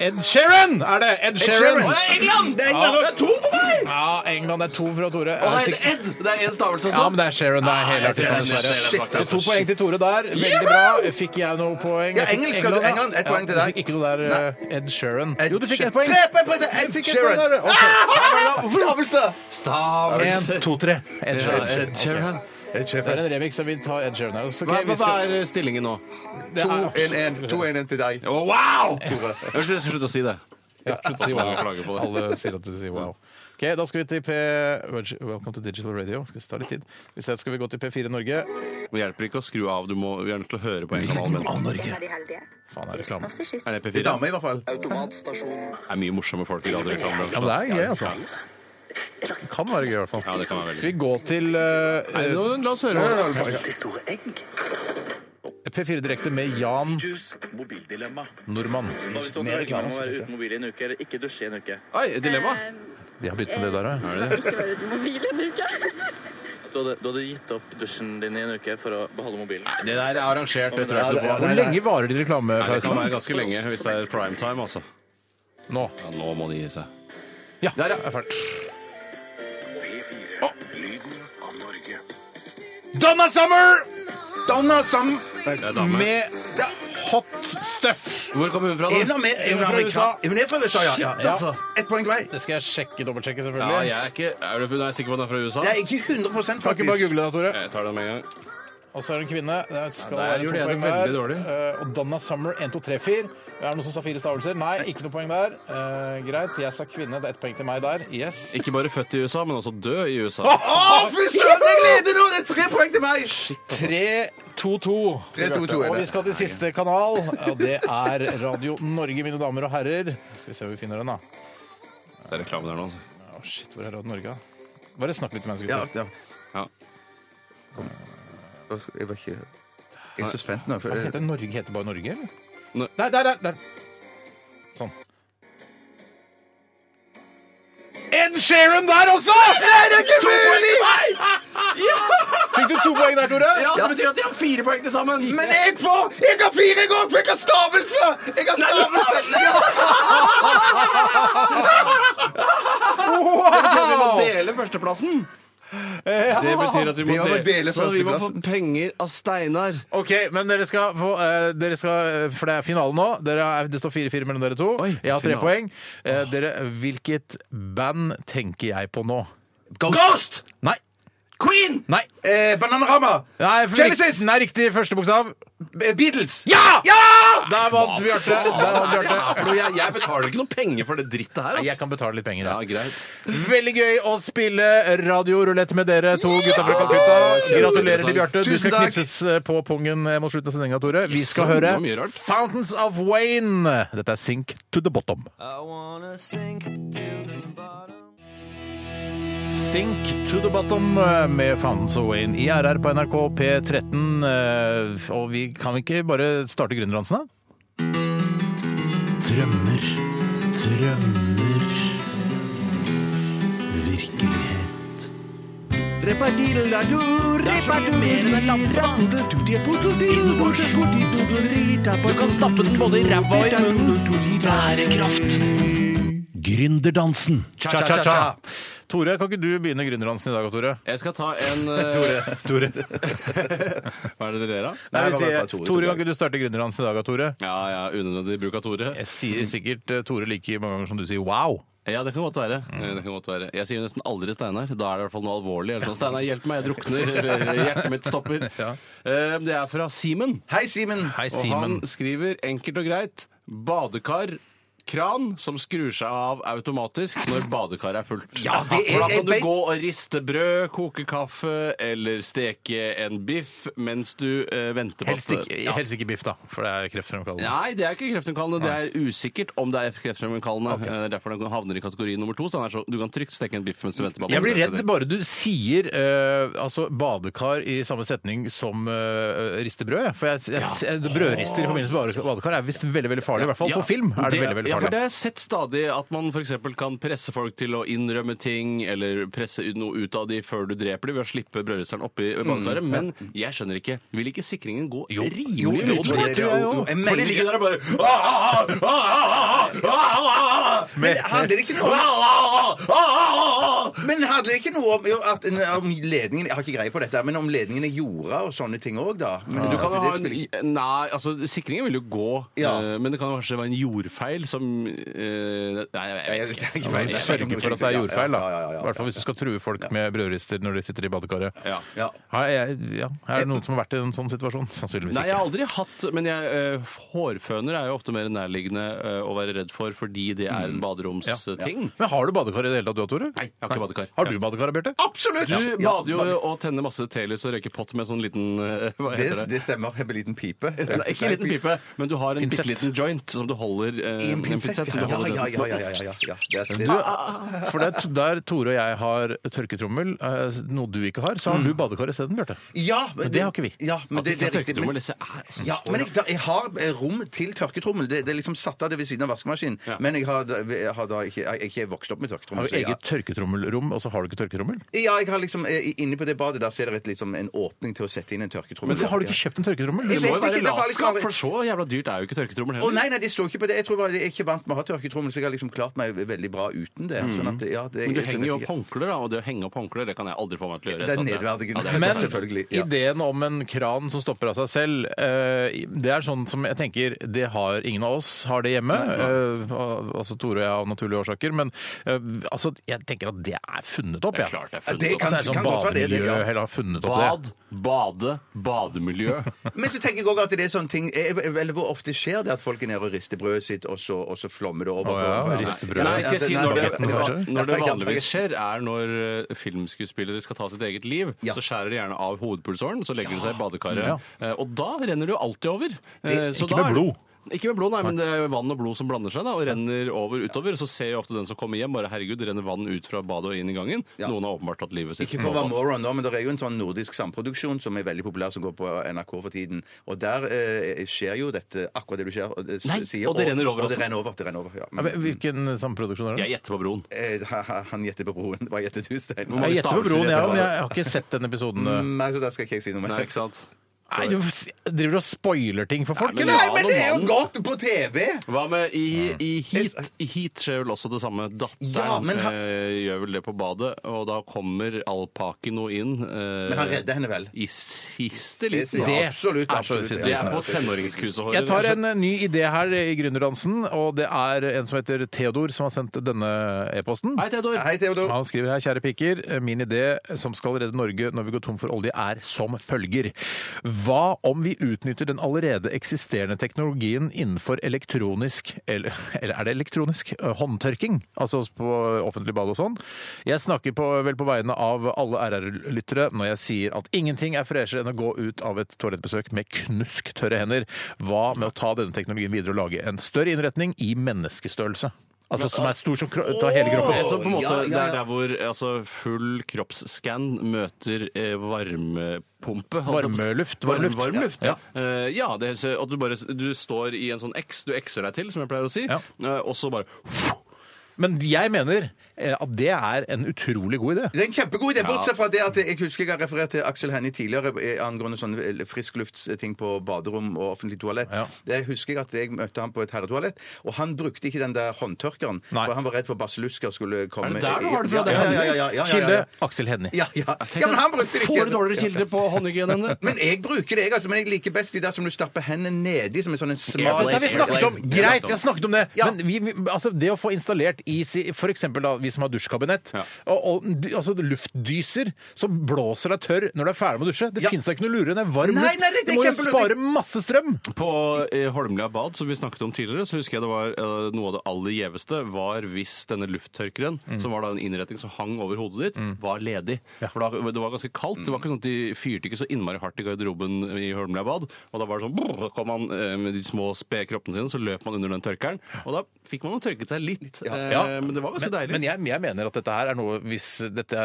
Ed Sheeran er det! Ed Sheeran. Å, det er England! Det er, England. Ja. det er to på meg! Ja, England er to fra Tore. Og Er det det er sikkert- et Ed! Det er en stavelse også. Ja, men det er Sharon. Det er hele jeg ser artikkelen. den, jeg ser den dessverre. altså. faktisk. Så to poeng til Tore der. Veldig bra. Fikk jeg noe poeng? Ja, engelsk hadde du. ja. England, ett Ja, poeng til du deg. Fikk ikke noe der, eh, Ed Sheeran. Ed Jo, du fikk Sheeran. ett poeng. Tre poeng på det, Ed Du fikk ett Sheeran. Ah! poeng der. Ok. Stavelse! En, to, tre. Ed Ja, Sheeran. Ed Sheeran. Det er en remix, så vi tar Ed Sheeran her. Så, ok, Hva, vi hva skal- er eh, stillingen nå? det er- 2-1-1 2-1-1 til deg. Å, wow! Slutt, slutt å si det. Ja, slutt å si Jeg wow. klager på det. Alle sier at du sier wow. Ok, Da skal vi til P... Welcome to digital radio. Skal vi ta litt tid? Vi ser, skal vi gå til P4 Norge? Det hjelper ikke å skru av. Du må, vi er nødt til å høre på en kanal. men- Faen, er det reklame? Er det Det er P4? dame, i hvert fall. Det er mye morsomme folk i radioreklamen. Ja, men det er gøy, altså. Det kan være gøy, i hvert fall. Ja, det kan være veldig Skal vi gå til eh, Nei, nå, La oss høre. eh, P4 Direkte med Jan Mobildilemma. Nordmann. Hvis du Mer reklame, må være uten mobil i en uke eller ikke dusje i en uke Oi, dilemma. De har begynt med det der òg. Er det det? du hadde, du hadde gitt opp dusjen din i en uke for å beholde mobilen. Det der er arrangert. Det tror jeg ikke noe på. Hvor lenge varer de Nei, det kan reklamepausene? være ganske lenge hvis det er prime time, altså. Nå. Ja, nå må de gi seg. Ja, der er ferdig. Donna Summer Donna Sam... Det er dame. med hot stuff. Hvor kommer hun fra, Er hun da? med? Er Hun hun er fra USA. amerikan- Er hun er fra USA, ja. ja. Altså, Ett poeng til meg. Det skal jeg sjekke, dobbeltsjekke, Ja, selvfølgelig. jeg er ikke Er du hun er sikker på at hun er fra USA? Det er ikke 100 Kan ikke bare faktisk. google det, Tore. Jeg tar den med en gang. Og så er det en kvinne. Det skal Ja, der være gjorde to jeg det poeng der. veldig dårlig. Eh, og Donna Summer 1, 2, 3, 4. Er det noen som sa fire stavelser? Nei, ikke noe poeng der. Eh, greit, jeg sa kvinne. Det er ett poeng til meg der. Yes. Ikke bare født i USA, men også død i USA. Å, fy søren, jeg gleder nå! Det er tre poeng til meg! 3-2-2. 3-2-2 er Og det. vi skal til siste kanal, og det er Radio Norge, mine damer og herrer. Skal vi se om vi finner den, da. Det er reklame der nå. altså. Å, shit, hvor er Radio Norge? da? Bare snakk litt med Ja, mennesker. ja. Ja. Hva skal- Jeg var ikke Jeg er så spent nå. For, Ja. Heter Norge heter bare Norge, eller? Nei. Der, der, der! der. Sånn. Ed Sheeran der også! Nei, det er ikke mulig! *laughs* Fikk du to poeng der, Tore? Ja, det betyr at de har fire poeng til sammen! men jeg får Jeg har fire ganger, for jeg har stavelse! Jeg har stavelse! vi må *laughs* dele førsteplassen! Det betyr at vi Det må var å dele dele Så vi må få førsteplassen. penger av Steinar. Ok, men dere skal få eh, dere skal, For det er finalen nå. Dere er, det står 4-4 mellom dere to. Oi, jeg har tre finalen. poeng. Eh, dere, hvilket band tenker jeg på nå? Ghost! Nei! Queen! Nei! Eh, Bananarama! Nei, for- Genesis! Nei, riktig første bokstav. Eh, Beatles! Ja! Der vant Bjarte. Der vant Bjarte. Jeg, jeg betaler ikke noe penger for det drittet her. Nei, Jeg Altså. kan betale litt penger. Ja, Ja. greit. Veldig gøy å spille radiorulett med dere to gutta fra Calcutta. Gratulerer til Bjarte. Du Tusen skal takk. knipses på pungen eh, mot slutten av sendinga, Tore. Vi skal det høre var mye rart. Fountains of Wayne. Dette er Sink to the Bottom. Sink to the bottom eh, med Fountains of Wayne i RR på NRK P13. eh, Og vi kan vi ikke bare starte gründerdansen, da? Drømmer, drømmer Virkelighet. Du kan stappe den både i ræva og i munnen. Bærekraft. gründerdansen. Cha-cha-cha. Tore, kan ikke du begynne gründerdansen i dag, Tore? *laughs* Jeg skal ta en eh, Tore, *laughs* Hva er det dere ler av? Nei, Nei, vi hva sa sier, Tore? Tore, kan ikke du starte gründerdansen i dag, Tore? Ja, ja, unødvendig bruk av Tore. Jeg sier sikkert eh, Tore like mange ganger som du sier wow. Ja, det kan godt være. Det kan godt være. Jeg sier nesten aldri Steinar. Da er det i hvert fall noe alvorlig. Eller sånn, Steinar, hjelp meg, jeg drukner. Hjertet mitt stopper. Eh, Det er fra Simen. Hei, Simen! Hei, Og Simen. han skriver enkelt og greit badekar. Kran som skrur seg av automatisk når badekaret er fullt. Ja, det er- For da kan du jeg- gå og riste brød, koke kaffe eller steke en biff mens du eh, venter på Helst ikke, Ja. helst ikke biff, da, for det er kreftfremkallende. Nei, det er ikke kreftfremkallende. Det er usikkert om det er kreftfremkallende. Eh, Det er derfor den havner i kategori nummer to. Så den er så, du kan trygt steke en biff mens du venter på Jeg blir redd bare du sier eh, altså badekar i samme setning som uh, ristebrød. For jeg, jeg, jeg, brødrister i forbindelse med bade- badekar er visst veldig veldig farlig. I hvert fall på film er det, veldig veldig Ja, for det farlig. har jeg sett stadig at man f.eks. kan presse folk til å innrømme ting, eller presse ut- noe ut av de før du dreper dem ved å slippe brødristeren oppi badekaret. Men jeg skjønner ikke. Vil ikke sikringen gå rimelig Jo, det- mye det- utover? det- jo, jo. Jeg mener- Fordi de ligger der og bare «Ah, ah, ah, ah, ah, ah, ah, ah, Men handler det ikke noe om ah, ah, ah, ah, ah». Men hadde det ikke noe om, jo, at, om ledningen Jeg har ikke greie på dette, men om ledningen er jorda og sånne ting òg, da? Men Du kan jo ha at det en, spiller ikke- nei, altså Sikringen vil jo gå, Ja. eh, men det kan jo kanskje være en jordfeil som eh, Nei, Nei, jeg vet ikke. ikke. Men Sørge for at det er jordfeil, da. Ja, ja, ja, ja. I hvert fall hvis du skal true folk med brødrister når de sitter i badekaret. Ja. Ja. Har jeg, ja. Er det noen som har vært i en sånn situasjon? Sannsynligvis Nei, jeg ikke. har aldri hatt Men jeg, eh, hårføner er jo ofte mer nærliggende eh, å være redd for fordi det er Mm. en baderomsting. Men har du badekar i det hele tatt, du Tore? Nei, jeg har ikke badekar. Har du badekar, Bjarte? Absolutt! Du Ja, bader jo bad- og tenner masse telys og røyker pott med sånn liten eh, Hva heter det, det? det stemmer. Jeg blir liten pipe. Nei, ikke en liten pipe, men du har en Pinsett. bitte liten joint som du holder eh, I en pinsett. som du Ja, holder ja, rundt. ja, ja, ja, ja, ja. Det er- det- For det er der Tore og jeg har tørketrommel, eh, noe du ikke har, så Mm. har du badekar isteden, Bjarte. Ja, Men det har ikke vi. Ja, men At det, du det kan er riktig. tørketrommel, Men, det er altså ja, men jeg, da, jeg har eh, rom til tørketrommel. Det, det er liksom satt av det ved siden av vaskemaskinen. Ja. Men jeg har, da- jeg har da ikke, jeg, jeg er ikke vokst opp med tørketrommel. Har du så jeg har- eget tørketrommelrom, og så har du ikke tørketrommel? Ja, jeg har liksom, eh, inne på det badet der ser det et, liksom, en åpning til å sette inn en tørketrommel. Hvorfor har du ikke kjøpt en tørketrommel? Det Jeg må jo vet være ikke, det er bare liksom latskap, aldri- for så jævla dyrt er jo ikke tørketrommel Å heller. nei, nei, det står ikke på det. Jeg tror bare jeg er ikke vant med å ha tørketrommel, så jeg har liksom klart meg veldig bra uten det. Sånn at, ja, Mm. det Men du jeg henger jo vet opp ikke. håndklær, da, og det å henge opp håndklær det kan jeg aldri få meg til å gjøre. Det er etter at jeg- nedverdigende. Ja, det er- Men selvfølgelig, ja. ideen om en kran som stopper av seg selv, eh, det er sånn som jeg tenker Det har ingen av oss har det hjemme. eh, al- altså Tore og jeg av naturlige årsaker. Men eh, altså, jeg tenker at det er funnet opp, Det er jeg. klart det er Ja, funnet det opp. kan- det er sånn godt være det, det, bademiljø ja. heller har funnet Bad, opp det. bade, *laughs* bademiljø. Men så tenker jeg også at det er sånn ting eh, Eller hvor ofte skjer det at folk er nede og rister brødet sitt, og så, og så flommer det over? Å ja, på- på- rister brødet. Nei, skal jeg si nei, når det, nei, hva- nei, når det nei, vanligvis skjer, er når eh, filmskuespillere skal ta sitt eget liv, Ja. så skjærer de gjerne av hovedpulsåren, så legger de seg i Ja. badekaret. Eh, Og da renner det jo alltid over. Eh, så ikke da med er- blod. Ikke med blod, nei, men det er vann og blod som blander seg da, og renner over utover. Og så ser jo ofte den som kommer hjem, bare herregud, det renner vann ut fra badet og inn i gangen. Ja. Noen har åpenbart tatt livet sitt. Ikke for å være moron nå, men det er jo en sånn nordisk samproduksjon som er veldig populær, som går på NRK for tiden. Og der eh, skjer jo dette, akkurat det du skjer, eh, s- Nei, sier. og det renner over Og det også. renner over. Det renner over ja. Ja, Mm. men Hvilken samproduksjon er det? Jeg gjetter på broen. Eh, ha- ha- Han gjetter på broen. Hva gjettet du, Stein? Hvor mange Jeg gjetter på stavelser broen, jeg gjetter òg. du? men Jeg har ikke sett den episoden. eh. Nei, så der skal ikke jeg si noe mer. Nei, ikke sant? Nei, du s- driver du og spoiler ting for folk, Nei, men eller? ja, Men det er jo mannen. godt på TV! Hva med i, i Heat? I Heat skjer vel også det samme. Datteren Ja, men han- eh, gjør vel det på badet, og da kommer alpakino inn. eh, Men han redder henne vel? I siste liten. Det- Det, absolutt, er så absolutt. siste det liten. er på tenåringskusehåret. Jeg tar en eh, ny idé her i gründerdansen, og det er en som heter Theodor som har sendt denne e-posten. Hei, Theodor. Hei, Theodor. Han skriver her, kjære piker, min idé som skal redde Norge når vi går tom for olje er som følger. Hva om vi utnytter den allerede eksisterende teknologien innenfor elektronisk, eller, eller er det elektronisk, Eh, håndtørking, altså på offentlig bad og sånn. Jeg snakker på, vel på vegne av alle RR-lyttere når jeg sier at ingenting er freshere enn å gå ut av et toalettbesøk med knusktørre hender. Hva med å ta denne teknologien videre og lage en større innretning i menneskestørrelse? Altså som er stor som kro tar hele kroppen. Så på en måte, Ja, ja, ja. Det er der hvor altså, full kroppsskann møter eh, varmepumpe. holdt jeg på å si. Varmeluft, Varm, varmluft. varmluft. Ja. Ja, ja det, er så- at du, bare, du står i en sånn X, du X-er deg til, som jeg pleier å si, Ja. eh, og så bare Men jeg mener eh, at det er en utrolig god idé. Det er en kjempegod idé, bortsett fra det at jeg husker jeg har referert til Aksel Hennie tidligere eh, angående sånne friskluftsting på baderom og offentlig toalett. Ja. Det husker jeg at jeg møtte ham på et herretoalett, og han brukte ikke den der håndtørkeren, Nei. for han var redd for basillusker skulle komme. der du har det fra? Ja, ja, ja, ja, ja, ja, ja. Kilde Aksel Hennie. Ja, ja. ja, men han brukte det ikke. Får du dårligere kilder på håndhygiene enn det? Men jeg bruker det, jeg, altså. Men jeg liker best de der som du stapper hendene nedi, som en sånn en Ja, smal dette har vi snakket om! Greit, vi har snakket om det. Ja. Men vi, vi, altså, det å få installert i si- for eksempel da, vi som har dusjkabinett, Ja. og, og d- altså, luftdyser som blåser deg tørr når du er ferdig med å dusje Det Ja. fins da ikke noe lurere enn en varm Nei, luft! nei, det er det må jo kjempelurt. spare masse strøm! På eh, Holmlia bad, som vi snakket om tidligere, så husker jeg det var eh, noe av det aller gjeveste var hvis denne lufttørkeren, Mm. som var da en innretning som hang over hodet ditt, var ledig. For da, det var ganske kaldt. Det var ikke sånn at de fyrte ikke så innmari hardt i garderoben i Holmlia bad. Og da var det sånn brr, kom man eh, med de små spede kroppene sine, så løp man under den tørkeren. Og da fikk man jo tørket seg litt. eh, Ja. Men det var ganske Men, deilig. men jeg, jeg mener at dette her er noe hvis dette,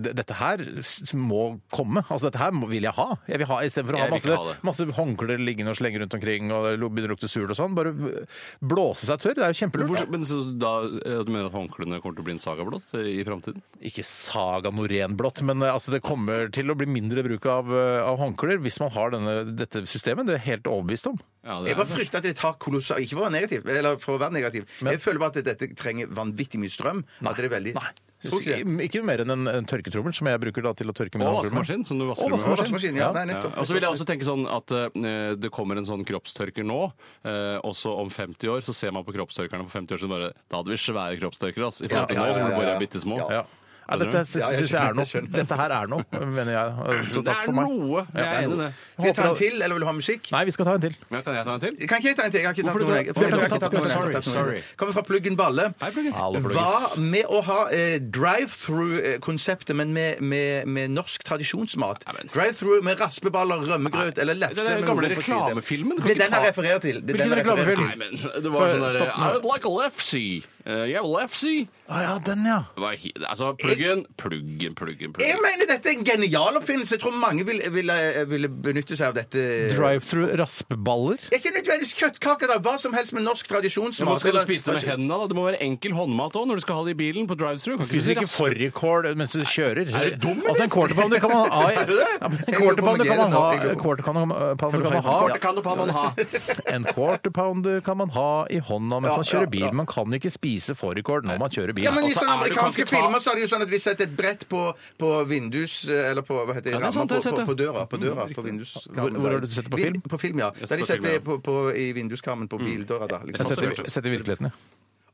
d- dette her s- må komme. Altså dette her må- vil jeg ha. Jeg vil ha Istedenfor å ha Jeg vil ikke masse, ha det. masse håndklær liggende og slenge rundt omkring og lo- begynne å lukte surt og sånn. Bare b- blåse seg tørr. Det er jo kjempelurt. Hvor- Men så da, eh, du mener at håndklærne kommer til å bli en saga blått eh, i framtiden? Ikke Saga Norén-blått, men eh, altså, det kommer til å bli mindre bruk av, eh, av håndklær hvis man har denne, dette systemet. Det er jeg helt overbevist om. Ja, Jeg bare frykter at det tar kolossalt Ikke for å være negativ, eller for å være negativ. jeg føler bare at dette trenger vanvittig mye strøm. at det er veldig... Tror ikke det. Ikke, ikke mer enn en, en tørketrommel, som jeg bruker da til å tørke mine Og håndklær med. vaskemaskin, som du vasker Og med. Og vaskemaskin, ja. Nei, Ja. nettopp. Og så vil jeg også tenke sånn at eh, det kommer en sånn kroppstørker nå, eh, og så om 50 år så ser man på kroppstørkerne for 50 år siden bare Da hadde vi svære kroppstørkere, ass. I forhold til Ja, nå, hvor ja, ja, det bare ja. er bitte små. Ja. Ja, dette Ja, jeg synes jeg er skjønner, jeg noe. skjønner. Dette her er noe, mener jeg. Så takk for meg. noe. Jeg er enig i det. Skal jeg ta en til, eller vil du ha musikk? Nei, vi skal ta en til. Ja, kan jeg ta en til? Kan ikke jeg ta en til? Jeg har ikke tatt Hvorfor noen, ikke? jeg. For jeg tror jeg har ikke tatt noen. jeg har Sorry, ikke tatt noen. sorry. Kommer fra Pluggen Balle. Hei, Pluggen. Hallo, Pluggen. Hva med å ha eh, drive-through-konseptet, men med, med, med norsk tradisjonsmat? Nei, men- Drive-through med raspeballer, rømmegrøt eller lefse Det er den med gamle noe på side. reklamefilmen, du kan Det er ikke den ta- jeg refererer til. Det er den jeg Hvilken refererer til. Nei, men det var Før- sånn derre stopp nå. I would like a lefsy. Uh, yeah, lefsy. Ah, ja, den, ja. Det var he- Altså, pluggen, pluggen, pluggen, Jeg pluggen. mener dette er en genial oppfinnelse. Jeg tror mange vil- ville ville benytte seg av dette. Drive-through raspeballer. Det er ikke nødvendigvis kjøttkaker, da. Hva som helst med norsk Ja, men tradisjonsmat. skal du eller- spise det med hendene, da? Det må være enkel håndmat òg når du skal ha det i bilen på drive-through. Spiser ikke fårikål mens du kjører. Er du dum, eller? Altså, en quarter pounder kan man ha. i- *laughs* Er du det? Ja, men en Jeg quarter lurer på om pounder kan man jeg gjør det ha. nå. Jeg En quarter kan man- pounder kan man ha. Kortet kan du på man ha. En quarter pounder kan man ha i hånda mens Ja, man kjører ja, bil. Man kan ikke spise fårikål når man kjører bil. Ja, men I Altså, sånne er det- kan amerikanske ikke ta- filmer så er det jo sånn at de setter et brett på, på vindus eh, Eller på hva heter det? Ja, det er sant, det har jeg rammer på, sett, på, på ja. døra. På døra, på vindus Hvor- hvor har du sett det på Vin- film? På film, ja. Der på de film, setter ja. på, på, i vinduskarmen Mm. på bildøra. da Jeg liksom. setter, setter virkeligheten, ja.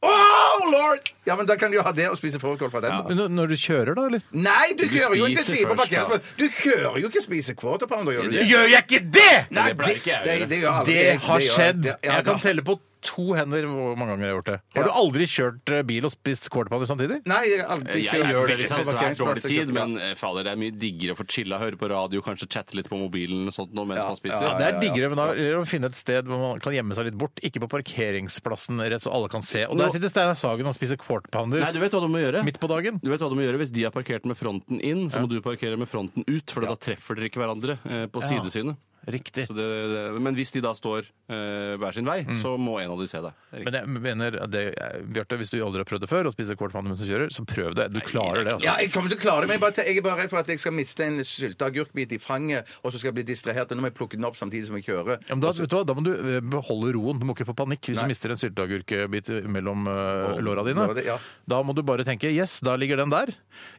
Oh, lord! Ja, men Da kan du jo ha det og spise fårikål fra den. da Når- Når du kjører, da, eller? Nei, du, kjører jo ikke spiser sier på først, ja. parkeringsplassen! Du kjører jo ikke og spiser quarter pounder, gjør du det? Gjør jeg ikke det?! Nei, Det pleier ikke jeg å gjøre. gjør alle. Det har gjør- skjedd. det- ja, Jeg kan da. telle på to hender hvor mange ganger jeg har gjort det. Har du aldri kjørt eh, bil og spist quarter pounder samtidig? Nei, jeg har aldri Eh, Jeg kjørt. gjør det hvis det er svært dårlig Parkeringsplasser, tid, ja. men eh, fader, det er mye diggere å få chilla, høre på radio, kanskje chatte litt på mobilen og sånt nå mens Ja, man Ja, spiser. det er diggere, men da er det å finne et sted hvor man kan gjemme seg litt bort. Ikke på parkeringsplassen rett så alle kan se. Og der sitter Steinar Sagen og spiser quarter Nei, pounder du vet hva du må gjøre? midt på dagen. Du vet hva du må gjøre Hvis de har parkert med fronten inn, så må du parkere med fronten ut, for da treffer dere ikke hverandre eh, på Ja. sidesynet. Riktig. Så det, det, men hvis de da står eh, hver sin vei, Mm. så må en av de se deg. Det er riktig. Men jeg mener, at det, eh, Bjarte, hvis du aldri har prøvd det før, å spise quarter pounder mens du kjører, så prøv det. Du klarer det, Ja, altså. jeg kommer til å klare det, men jeg, bare, jeg er bare redd for at jeg skal miste en sylteagurkbit i fanget, og så skal jeg bli distrahert, og nå må jeg plukke den opp samtidig som jeg kjører. Ja, men da, vet du hva, da må du eh, beholde roen. Du må ikke få panikk hvis du mister en sylteagurkbit mellom eh, låra dine. låra di, ja. Da må du bare tenke yes, da ligger den der.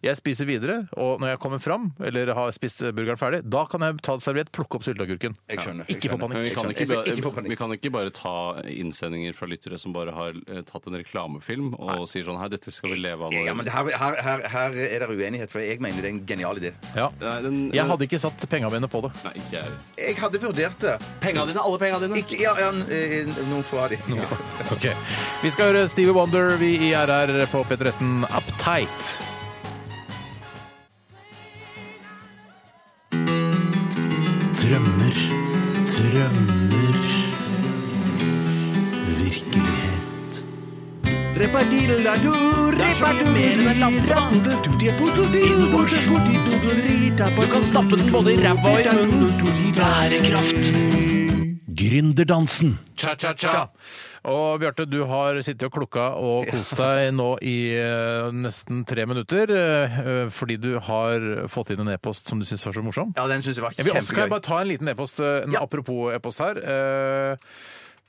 Jeg spiser videre. Og når jeg kommer fram, eller har spist eh, burgeren ferdig, da kan jeg ta en serviett, plukke opp sylteagurken. Jeg skjønner. jeg Ikke få skjønner. Men vi panikk. Jeg kan, skjønner. ikke, Jeg skal ikke få ba- panikk. vi kan ikke bare ta innsendinger fra lyttere som bare har eh, tatt en reklamefilm og sier sånn Hei, dette skal vi leve av nå. Ja, men det her, her, her, her er det uenighet, for jeg mener det er en genial idé. Ja. Nei, den- Jeg hadde ikke satt penga mine på det. Nei, ikke jeg. Jeg hadde vurdert det. Penga dine, alle penga dine. Ikke, ja, ja, eh, noen få av de. Ja. Ok. Vi skal høre Stevie Wonder, vi i RR på P13 Uptight. Drømmer, drømmer, virkelighet. Du kan stappe den både i ræva og i munnen. Bærekraft. Gründerdansen. Cha-cha-cha. Og Bjarte, du har sittet og klukka og kost deg nå i eh, nesten tre minutter eh, fordi du har fått inn en e-post som du syns var så morsom. Ja, den syns jeg var Jeg vil også kan jeg kjempegøy. bare ta en liten e-post, eh, en Ja. apropos e-post her. Eh,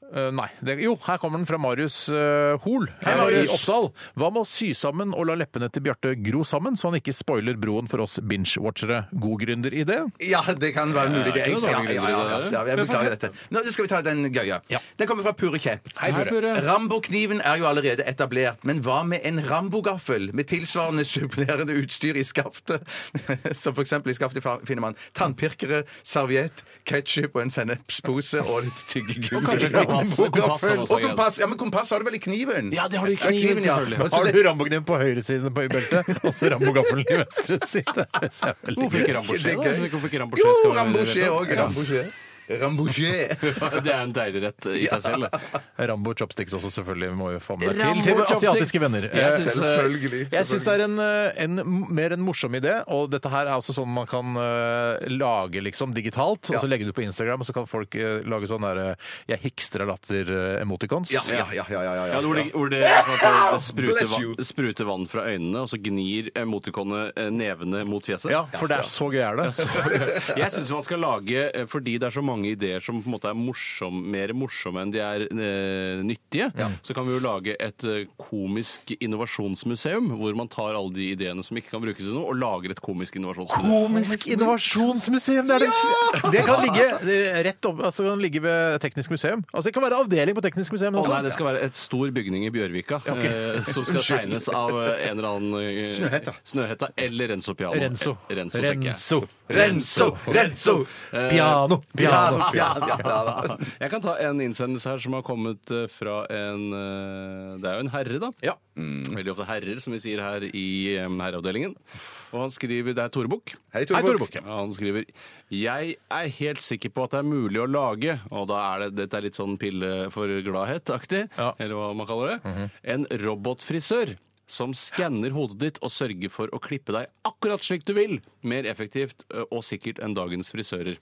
eh, nei. Det, jo, her kommer den fra Marius eh, Hoel Hei, eh, Marius. i Oppdal. Hva med å sy sammen og la leppene til Bjarte gro sammen, så han ikke spoiler broen for oss binge-watchere? God gründer i det? Ja, det kan være mulig. Det er Eh, Ja, jeg, det er ja, noe ja, ja, ja, jeg beklager dette. Nå skal vi ta den gøye. Ja. Den kommer fra Pure Kjepp. Hei, Pure. Rambo-kniven er jo allerede etablert, men hva med en Rambo-gaffel med tilsvarende supplerende utstyr i skaftet? *laughs* Som for eksempel i skaftet fa- finner man tannpirkere, serviett, ketsjup og en sennepspose og litt tyggegummi. Og kanskje kompass. Og kompass, Kompass kan også og kompass. Ja, men kompass har du vel i kniven? Ja, det har du i kniven, selvfølgelig. Og så Har det- du rambokniven på høyre side på beltet, og så rambogaffelen i venstre side? Det er veldig Hvorfor ikke Det Rambouché? er da? gøy. Skjønner ikke hvorfor ikke Rambouché skal Jo, være Rambouché rett, da. òg. Rambouché. *laughs* Rambouché. Ja. Det er en deilig rett i seg selv. det. Rambo chopsticks også, selvfølgelig. må vi få med Rambo til til asiatiske venner. Jeg synes, eh, Selvfølgelig. Jeg syns det er en, eh, en mer en morsom idé, og dette her er også sånn man kan eh, lage liksom digitalt, og så legge det ut på Instagram, og så kan folk eh, lage sånn derre jeg hikster av eh, latter-emoticons. Ja, ja, ja. ja, ja, ja, Ja, ja. hvor det, hvor det, at det spruter, Bless you. vann, spruter vann fra øynene, og så gnir emoticonet eh, nevene mot fjeset. Ja, for det er så gøy er *laughs* det. Jeg syns man skal lage, eh, fordi det er så mange ideer som på en måte er morsom, mer morsomme enn de er eh, nyttige, så kan vi jo lage et eh, komisk innovasjonsmuseum, hvor man tar alle de ideene som ikke kan brukes til noe, og lager et komisk innovasjonsmuseum. Komisk innovasjonsmuseum! Det, er det, *laughs* det kan ligge rett opp, altså det kan ligge ved Teknisk museum. Altså Det kan være avdeling på Teknisk museum Å også. nei, det skal være et stor bygning i Bjørvika eh, som skal tegnes av eh, en eller annen eh, Snøhetta. Snøhetta eller Renzo Piano. Renzo. Eh, Renzo, tenker jeg. Renzo. Renzo, Renzo. Piano, piano, piano. *laughs* Jeg kan ta en innsendelse her som har kommet eh, fra en eh, Det er jo en herre, da. Ja. Mm. Veldig ofte herrer, som vi sier her i eh, herreavdelingen. Og han skriver Det er Tore Bukk. Hei, Hei, Torbjørn. Tore Bukke. Han skriver Jeg er helt sikker på at det er mulig å lage Og da er det, dette er litt sånn pille for gladhet-aktig, Ja. Mhm. eller hva man kaller det. En robotfrisør. Som skanner hodet ditt og sørger for å klippe deg akkurat slik du vil. Mer effektivt ø, og sikkert enn dagens frisører.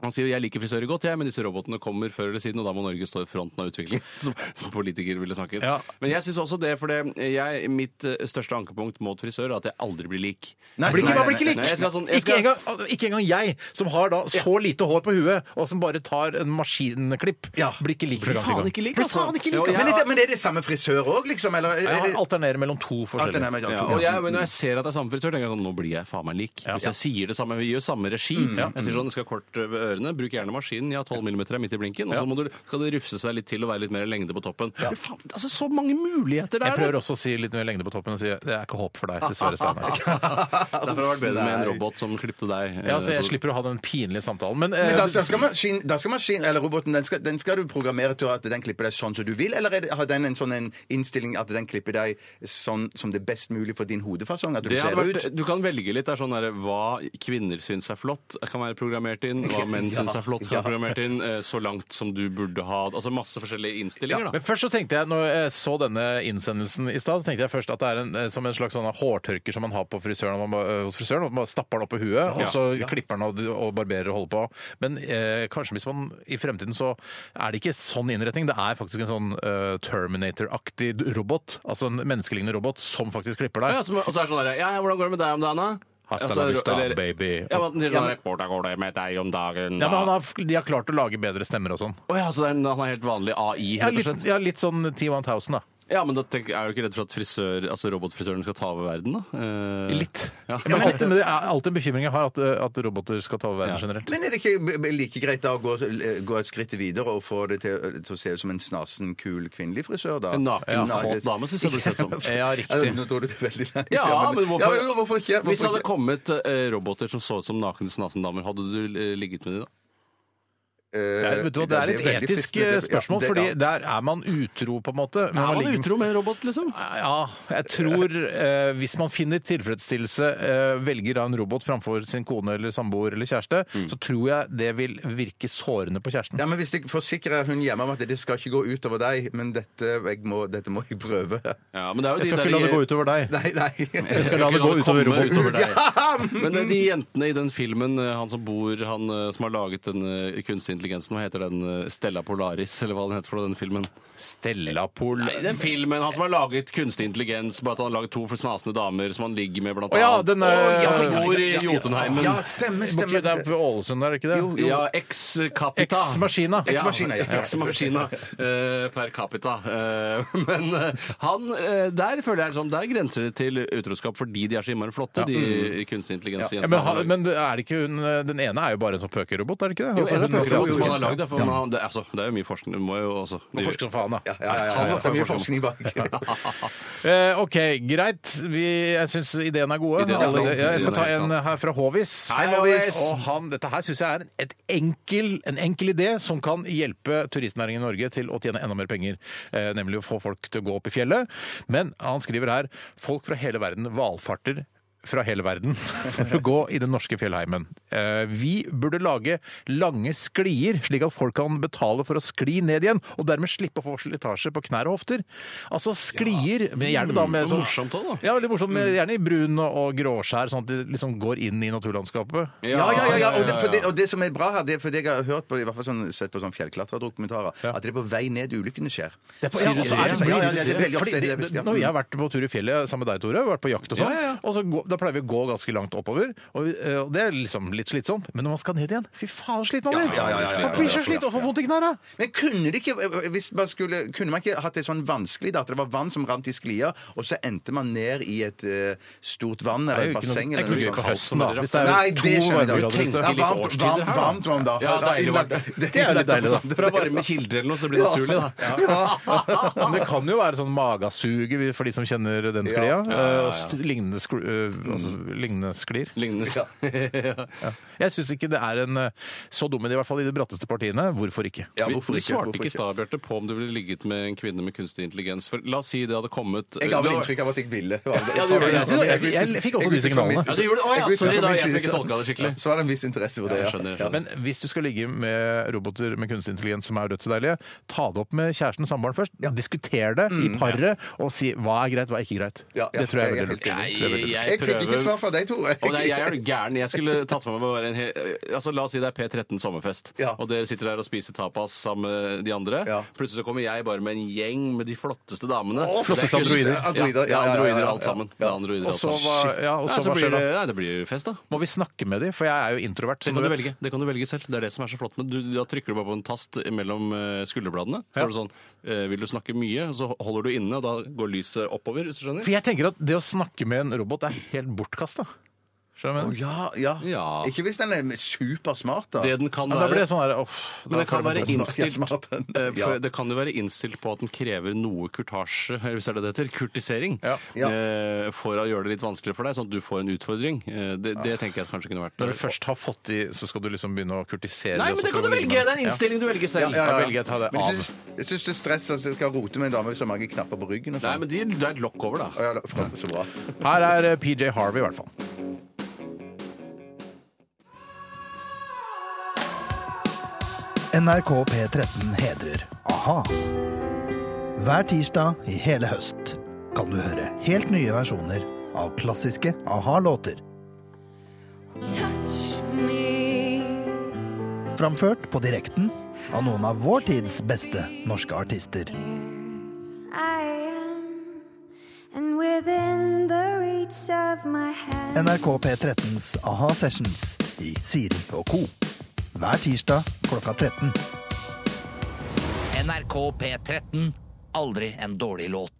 Han sier jeg liker frisører godt, jeg, men disse robotene kommer før eller siden, og da må Norge stå i fronten av utviklingen, *laughs* som, som politikere ville snakket. Ja. Men jeg syns også det, for det, jeg, mitt ø, største ankepunkt mot frisører er at jeg aldri blir lik. Nei, Blir ikke, Nei, man blir ikke nei, lik! nei, jeg skal ha sånn- jeg ikke, skal- engang, ikke engang jeg, som har da så lite hår på huet, og som bare tar en maskinklipp, Ja. blir ikke lik. fra gang til gang. lik, Blir faen ikke lik, Jo, altså. Men, er det, men er det samme frisør òg, liksom? Eller, er Jeg det, har- alternerer mellom to Alt forskjellige. med Ja, og jeg, *laughs* men når jeg ser at det er samme frisør, tenker jeg sånn Nå blir jeg faen meg lik. Hvis jeg sier det samme, vi gjør samme regi. Jeg sier sånn, jeg skal kort ved ørene, bruk gjerne maskinen, ja, 12 mm er midt i blinken, og så må du, skal det rufse seg litt til og være litt mer lengde på toppen. Men Faen, altså, så mange muligheter Jeg der! prøver også å si litt mer lengde på toppen og si det er ikke håp for deg, dessverre, Steinar. *laughs* Derfor hadde det vært bedre med en robot som klippte deg. eh, Ja, så jeg så- slipper å ha den pinlige samtalen. Men, eh, Men da, da skal maskinen, da skal maskin, eller roboten, den skal, den skal du programmere til at den klipper deg sånn som du vil, eller er det, har den en sånn en innstilling at den klipper deg sånn som det er best mulig for din hodefasong? At du Det ser hadde vært, ut? du kan velge litt. Det er sånn der, Hva kvinner syns er flott, kan være programmert inn. *laughs* Hva menn syns er flott, kan være programmert inn. eh, Så langt som du burde ha Altså masse forskjellige innstillinger, da. men først så tenkte jeg, når jeg så denne innsendelsen i stad, så tenkte jeg først at det er en, eh, som en slags sånn hårtørker som man har på frisøren, når man, bare- eh, hos frisøren, og man bare stapper den opp i huet, og så klipper den og, og barberer og holder på. Men eh, kanskje hvis man i fremtiden så er det ikke sånn innretning, det er faktisk en sånn eh, Terminator-aktig robot, altså en menneskelignende robot som faktisk klipper deg. Ja, som, og så er det sånn der, ja, ja, hvordan går det med deg om dagen, da? Hasta Altså, la vista, eller- baby. Ja, men, den sier sånn, der, hvordan går det med deg om dagen? Ja, men han da?» har, De har klart å lage bedre stemmer og sånn. Å ja, så det er en, han er helt vanlig AI, Ja, helt og litt, slett? ja, litt sånn T1000, da. Ja, men da tenk, er du ikke redd for at frisør, altså robotfrisøren skal ta over verden, da? Eh, Litt. Ja. Men, alltid, men det er alltid en bekymring jeg har, at, eh, at roboter skal ta over verden Ja. generelt. Men er det ikke b- b- like greit da å gå, eh, gå et skritt videre og få det til, til å se ut som en snasen, kul kvinnelig frisør, da? En naken, Ja. kåt dame syns jeg burde sett *laughs* som. Ja, Altså, riktig. Nå tror du det er veldig langt. Ja, men hvorfor, ja, men hvorfor ikke? Hvis det Hvorfor hadde ikke? kommet eh, roboter som så ut som nakne snasendamer, hadde du eh, ligget med de da? Det er, Eh, vet du, hva, det er et Eh, veldig etisk fristende. eh, Ja, spørsmål, det- fordi ja. der er man utro, på en måte. men Er man ligger- utro med en robot, liksom? Eh, Ja, jeg tror eh, hvis man finner tilfredsstillelse, eh, velger da en robot framfor sin kone eller samboer eller kjæreste, så tror jeg det vil virke sårende på kjæresten. Ja, men hvis jeg forsikrer hun hjemme om at det skal ikke gå utover deg, men dette, jeg må, dette må jeg prøve. *laughs* Ja, men det er jo Jeg de skal der- ikke la det gå utover deg. Nei, nei. Jeg skal la det gå utover komme utover roboten. deg. Men eh, de jentene i den filmen, eh, han som bor, han eh, som har laget den eh, kunstig intelligensen. Hva heter den? eh, Stella Polaris, eller hva den heter for noe, den filmen? Stella Pol... Nei, den filmen, han som har laget kunstig intelligens, bare at han har laget to snasende damer som han ligger med, blant Å ja, annet. den ja, eh, ja, bor i Jotunheimen. Ja, må stemmer, ikke- Det er stemmer. på Ålesund, er det ikke det? Jo, Ja, ex capita. Ex Machina. Ja, Maskina, ja. Ex Machina, eh, per capita. Eh, *laughs* men eh, han eh, Der føler jeg liksom, der grenser det til utroskap fordi de er så innmari flotte, de kunstig Mm. Ja, intelligens-jentene. men, ha- men er det ikke hun eh, Den ene er jo bare en sånn pøkerobot, er det ikke det? Jo, Altså, er det hun- pøker- som han har lagd det, for man har- det, altså, det er jo mye forskning. Du må jo også Hun forsker som faen, da. Ja, ja, ja, ja. Det er mye forskning bak. *laughs* *laughs* Eh, OK, greit. Vi, jeg syns ideen er gode. Ideen er Alle, god. ja, jeg skal ta en her fra Håvis. Hei, Håvis! Og han, dette her syns jeg er et enkel, en enkel idé som kan hjelpe turistnæringen i Norge til å tjene enda mer penger. Eh, nemlig å få folk til å gå opp i fjellet. Men han skriver her folk fra hele verden valfarter fra hele verden *laughs* for å gå i den norske fjellheimen. Eh, Vi burde lage lange sklier, slik at folk kan betale for å skli ned igjen, og dermed slippe å få slitasje på knær og hofter. Altså sklier, men gjerne da med sånn mm, Morsomt òg, da. Mm. ja, veldig morsomt. men Gjerne i brun og- og gråskjær, sånn at det liksom går inn i naturlandskapet. Ja, ja, ja, ja. Og, det, for det, og det som er bra her, det er for det jeg har hørt på, i hvert fall sånn, sett på sånn fjellklatredokumentarer, at det er på vei ned ulykkene skjer. Det er på- ja, og så er det- Ja, ja, ja, det er veldig ofte Fordi det, det- ja. Når vi har vært på tur i fjellet sammen med deg, Tore, vært på jakt og sånn, Ja, ja, ja. og så gå, da pleier vi å gå ganske langt oppover, og, vi- eh, og det er liksom litt slitsomt, men når man skal ned igjen, fy faen, sliter man blir. ja, ja, ja, ja, Man blir ja, så ja, sliten og får vondt i knærne. Men kunne, det ikke, hvis man skulle, kunne man ikke hatt det sånn vanskelig, da, at det var vann som rant i sklia, og så endte man ned i et eh, stort vann Det er jo eller et ikke noe, basseng? det er ikke eller noe gøy noe på sånt. høsten, da. Hvis det Nei, er det to skjønner jeg da. varmegrader ute. Det er varmt, *laughs* varmt, varmt vann da. Ja, deilig varmt. Det er litt deilig, da. Fra varme kilder eller noe, så blir det naturlig, da. Men det kan jo være sånn magasuge for de som kjenner den sklia. eh, og st- Lignende, skl- eh, Mm. altså, lignende sklir. Lignende. *laughs* Jeg syns ikke det er en eh, så dum idé, i hvert fall i de bratteste partiene. Hvorfor ikke? Ja, Vi- hvorfor Vi ikke? svarte Hvorfor ikke i ikke? stad, Bjarte, på om du ville ligget med en kvinne med kunstig intelligens. For la oss si det hadde kommet Jeg ga Det vel var- inntrykk av at jeg ville. Ja, du gjorde det. Jeg- jeg- jeg fikk også de signalene. Ja, du gjorde det. Å, ja, sorry da, jeg fikk ikke tolka det skikkelig. Så var det en viss interesse for det, Ja, jeg ja. skjønner, jeg Ja. skjønner. Men hvis du skal ligge med roboter med kunstig intelligens som er dødsdeilige, ta det opp med kjæresten og samboeren først. Diskuter det i paret, og si hva er greit, hva er ikke greit. Ja, ja. Det tror jeg er Jeg er veldig lurt. Det tror helt jeg er veldig lurt. Jeg fikk ikke svar fra deg, Tore. Å, nei, *laughs* jeg er jo gæren. Jeg skulle tatt med meg å være en hel Altså, La oss si det er P13 sommerfest, Ja. og dere sitter der og spiser tapas sammen med de andre. Ja. Plutselig så kommer jeg bare med en gjeng med de flotteste damene. Å, Det er flotteste kun- androider. Ja, Androider, Ja, ja, ja, androider ja, ja. alt sammen. Ja. Ja, androider Og alt så sammen. hva, Shit. ja, altså, og Nei, så så hva blir skjer da? det, nei, det blir jo fest, da. Må vi snakke med dem? For jeg er jo introvert. Det som kan, du vet. velge. det kan du velge selv. Det er det som er så flott. Men du, da trykker du bare på en tast mellom eh, skulderbladene. Så Ja. er det sånn eh, Vil du snakke mye, så holder du inne, og da går lyset oppover, hvis du skjønner? For jeg tenker at det å snakke med en robot er helt bortkasta. Skjønner du? hva jeg Å, mener? ja, ja. Ja. Ikke hvis den er supersmart, da. Det den kan Ja, da blir være det sånn her uff, Men da det kan føler være jeg meg- smart, innstilt smart, den. eh, for Ja. Det kan jo være innstilt på at den krever noe kurtasje, *laughs* eller hvis det er det det heter, kurtisering, Ja. Ja. eh, for å gjøre det litt vanskeligere for deg, sånn at du får en utfordring. Eh, Det, det tenker jeg kanskje kunne vært Når du først har fått i, så skal du liksom begynne å kurtisere Nei, og men så det kan skal du velge! ligge med Det er den. en innstilling du velger selv. Ja, da velger jeg å ta det Men jeg av. syns- jeg syns det er stress at jeg skal rote med en dame hvis det er mange knapper på ryggen. og Nei, sånn. men de, det er et lokk over, Å, da. ja, da- faen, så bra. Her er eh, PJ Harvey, i hvert fall. NRK P13 hedrer a-ha. Hver tirsdag i hele høst kan du høre helt nye versjoner av klassiske a-ha-låter. Framført på direkten av noen av vår tids beste norske artister. I am, and within the reach of my hand. NRK P13s a-ha Sessions i Siri og co. Hver tirsdag klokka 13. NRK P13. Aldri en dårlig låt.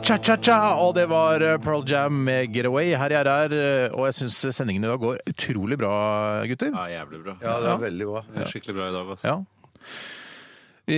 Cha-cha-cha, og det var eh, Pearl Jam med Get Away her jeg er, eh, og jeg syns sendingen i dag går utrolig bra, gutter. Ja, jævlig bra. Ja, det var veldig bra. Det er Skikkelig bra i dag, ass. Ja. Vi,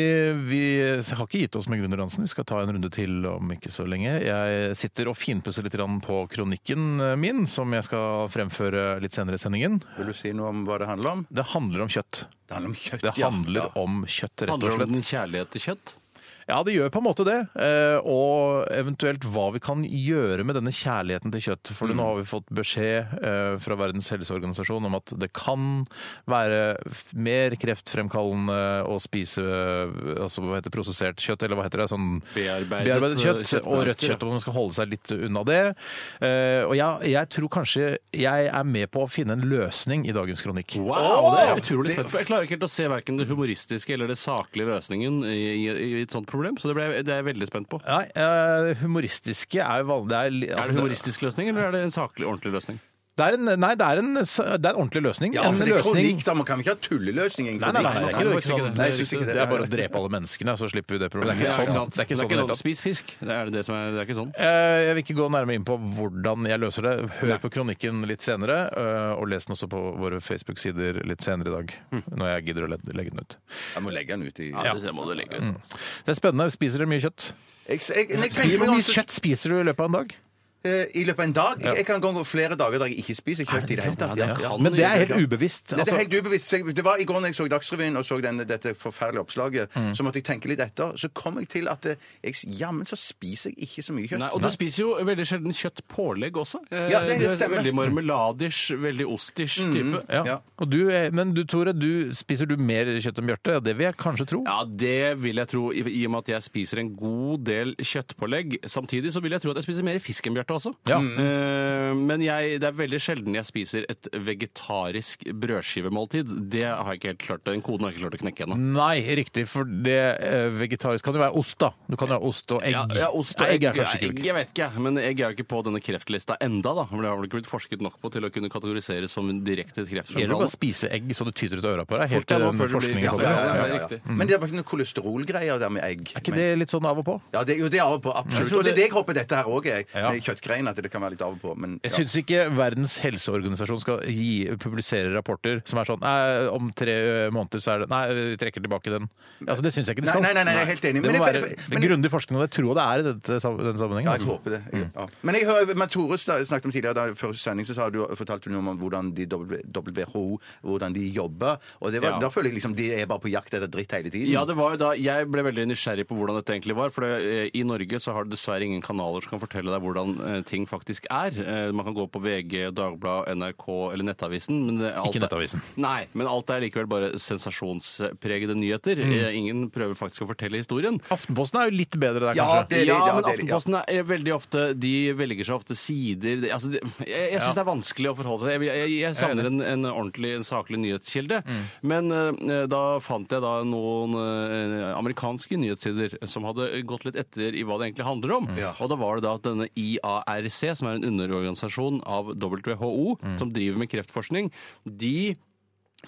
vi har ikke gitt oss med gründerdansen. Vi skal ta en runde til om ikke så lenge. Jeg sitter og finpusser litt grann på kronikken eh, min, som jeg skal fremføre litt senere i sendingen. Vil du si noe om hva det handler om? Det handler om kjøtt. Det handler om kjøtt, Det handler om kjøtt, rett og Handler det om slett. din kjærlighet til kjøtt? Ja, det gjør på en måte det. Eh, og eventuelt hva vi kan gjøre med denne kjærligheten til kjøtt. For Mm. nå har vi fått beskjed eh, fra Verdens helseorganisasjon om at det kan være f- mer kreftfremkallende å spise eh, altså, hva heter det, prosessert kjøtt, eller hva heter det? Sånn Bearbeidet, bearbeidet kjøtt eh, og rødt kjøttprodukter, ja. kjøtt. Og man skal holde seg litt unna det. Eh, og jeg, jeg tror kanskje jeg er med på å finne en løsning i dagens kronikk. Wow, det er jeg utrolig spent på. Jeg klarer ikke helt å se verken det humoristiske eller det saklige løsningen i, i, i et sånt problem, så det, ble, det er jeg veldig spent på. Nei, eh, humoristiske er jo vanlig. det li- Er altså, det humoristisk løsning, eller er det en saklig, ordentlig løsning? Det er en, nei, det er en, det er en ordentlig løsning. Ja, en for det er løsning. kronikk, da. Man kan ikke ha tulleløsning. i en Nei, nei, nei, kronikk. det Nei, er ikke, det, det det. ikke sånn. det, Nei, er jeg synes ikke det. det er bare å drepe alle menneskene, så slipper vi det problemet. Det er Ja, ikke ikke sånn. sant? Det er ikke sånn i det hele tatt. Spis fisk. Det er det som er, det er ikke sånn. Eh, Jeg vil ikke gå nærmere inn på hvordan jeg løser det. Hør på kronikken litt senere, eh, og les den også på våre Facebook-sider litt senere i dag. Når jeg gidder å le- legge den ut. Jeg må legge den ut i Ja, det må du legge ut. Mm. Det er spennende. Spiser dere mye kjøtt? Jeg- jeg- jeg- jeg- Hvor mye kjøtt spiser du i løpet av en dag? Eh, I løpet av en dag. Jeg, jeg kan gå flere dager der jeg ikke spiser kjøtt i det hele tatt. Ja. kan Men det er helt gjøre ubevisst. Det, det altså. er helt ubevisst. Så jeg- Det var I går når jeg så Dagsrevyen og så denne, dette forferdelige oppslaget, Mm. så måtte jeg tenke litt etter. Så kom jeg til at eh, jeg, jammen så spiser jeg ikke så mye kjøtt. Nei, og du spiser jo veldig sjelden kjøttpålegg også. Eh, Ja, det- det du er stemmer. Veldig marmeladish, veldig ostish type. Mm. Ja. Ja. Og du, eh, men du Tore, du, spiser du mer kjøtt enn Bjarte? Det vil jeg kanskje tro. Ja, det vil jeg tro, i i og med at jeg spiser en god del kjøttpålegg. Samtidig så vil jeg tro at jeg spiser mer fisk enn Bjarte også. Ja. Eh, Men jeg, det er veldig sjelden jeg spiser et vegetarisk brødskivemåltid. Det har jeg ikke helt klart, den koden har jeg ikke klart å knekke ennå. Nei, riktig, for det eh, vegetarisk kan jo være ost, da. Du kan jo ha ost og egg. Ja, ja, ost og Nei, egg, er kanskje egg, kult. Jeg vet ikke, men egg er jo ikke på denne kreftlista enda, da. Men det har vel ikke blitt forsket nok på til å kunne kategoriseres som en direkte Gjelder det bare å kreftfremkallende. spise egg så det tyter ut av øra på Fort, deg? Helt ja, til nå den før det blir- forskningen Ja, kommer. ja, ja, ja. riktig. Mm. Men det var ikke noen kolesterolgreier der med egg. Er ikke det litt sånn av og på? Ja, det, jo, det er av og på, absolutt. Og det er det jeg håper dette her òg er. Ja. Med Kjøttgreiene, at det kan være litt av og på. Men, Jeg ja. syns ikke Verdens helseorganisasjon skal gi, publisere rapporter som er sånn Nei, om tre eh, måneder så er det Nei, vi trekker tilbake den. Altså, Det syns jeg ikke det Nei, skal. nei, nei, nei, jeg er helt Det enig. må Men jeg- være jeg- det men- er grundig forskning, og det tror jeg det er i dette, sam- denne Ja, jeg sammenhengen. håper det. Mm. Ja. Men jeg hører, men Tore sn- snakket om tidligere, da, før sending så sa du, fortalte du noe om hvordan de W- WHO hvordan de jobber. Og det var, Ja. Da føler jeg liksom de er bare på jakt etter dritt hele tiden. Ja, det var jo da Jeg ble veldig nysgjerrig på hvordan dette egentlig var. For det, eh, i Norge så har du dessverre ingen kanaler som kan fortelle deg hvordan eh, ting faktisk er. Eh, man kan gå på VG, Dagbladet, NRK eller Nettavisen. Men det, alt Ikke Nettavisen. Er, nei, men alt er likevel bare sensasjonspregede nyheter. Mm. Eh, ingen prøver faktisk å fortelle historien. Aftenposten er jo litt bedre der, Ja, kanskje. det er ja, ja, men det er det, ja. Aftenposten er veldig ofte De velger seg ofte sider de, altså, de, Jeg, jeg syns det er vanskelig å forholde seg Jeg, jeg, jeg savner en, en ordentlig, en saklig nyhetskilde. Men eh, da fant jeg da noen eh, amerikanske nyhetssider som hadde gått litt etter i hva det egentlig handler om. Og da var det da at denne IARC, som er en underorganisasjon av WHO, som driver med kreftforskning, de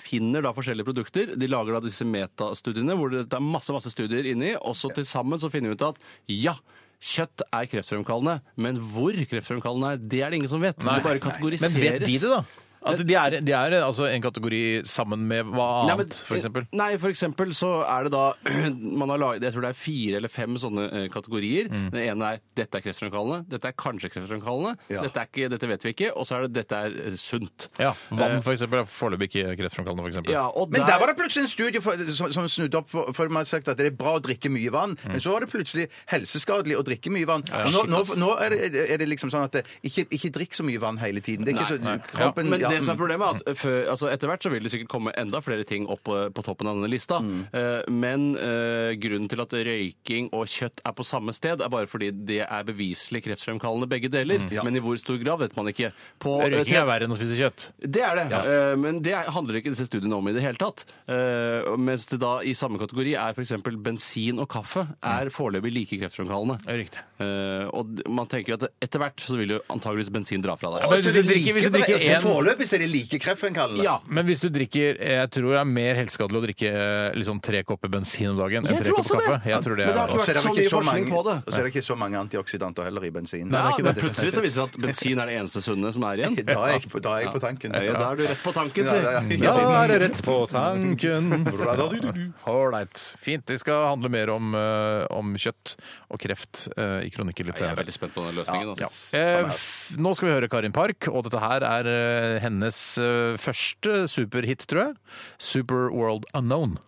finner da forskjellige produkter. De lager da disse metastudiene hvor det det er masse masse studier inni. Og så til sammen så finner vi ut at ja, kjøtt er kreftfremkallende. Men hvor kreftfremkallende er, det er det ingen som vet. det bare kategoriseres. Men vet de det, da? At de er, de er altså en kategori sammen med hva Nei, men- eh, annet, for eksempel? Nei, for eksempel så er det da *clears throat* man har laget, Jeg tror det er fire eller fem sånne eh, kategorier. Mm. Den ene er 'dette er kreftfremkallende', 'dette er kanskje kreftfremkallende', dette, er ikke, 'dette vet vi ikke', og så er det 'dette er eh, sunt'. Ja, Vann for eksempel, er foreløpig ikke kreftfremkallende. For eksempel. eh, Ja, og Men der var det plutselig en studie for, som, som snudde opp for, for man har sagt at det er bra å drikke mye vann, Mm. men så var det plutselig helseskadelig å drikke mye vann. Og nå, nå, nå er, det, er det liksom sånn at det, ikke, ikke drikk så mye vann hele tiden. Det er ikke så, kroppen, Men ja, det som er mm. problemet er at før, altså etter hvert så vil det sikkert komme enda flere ting opp eh, på toppen av denne lista. Mm. Eh, Men eh, grunnen til at røyking og kjøtt er på samme sted, er bare fordi det er beviselig kreftfremkallende begge deler. Men i hvor stor grad vet man ikke. På, Mm. eh, Røyking er verre enn å spise kjøtt. det er det, Eh, men det handler ikke disse studiene om i det hele tatt. Eh, Mens det da i samme kategori er f.eks. bensin og kaffe er foreløpig like kreftfremkallende. Mm. Riktig. Eh, Og d- man tenker at etter hvert så vil jo antageligvis bensin dra fra deg. Ja, men Så hvis det du er drikker- hvis du like- drikker altså, en- Foreløpig så er det like kreftfremkallende. Ja, Men hvis du drikker Jeg tror det er mer helseskadelig å drikke eh, liksom, tre kopper bensin om dagen enn Jeg tre tror kopper også kaffe. det. Jeg tror det Men er det har Og så er det vært ikke så så mye mange, forskning på det. og så er det ikke så mange antioksidanter heller i bensin. Ja, Nei, det er ikke men det. plutselig så viser det seg at bensin er det eneste sunne som er igjen. *laughs* Da er jeg på, da er jeg på tanken. Ja, da er du rett på tanken, Ja, ja, si. ja. Ja, da er det rett på tanken. altså. Ålreit. Fint. Vi skal handle mer om, eh, om kjøtt og kreft eh, i kronikker litt Jeg er senere. veldig spent på den løsningen. Ja. Altså. Eh, f- nå skal vi høre Karin Park, og dette her er eh, hennes eh, første superhit, tror jeg. Super World Unknown.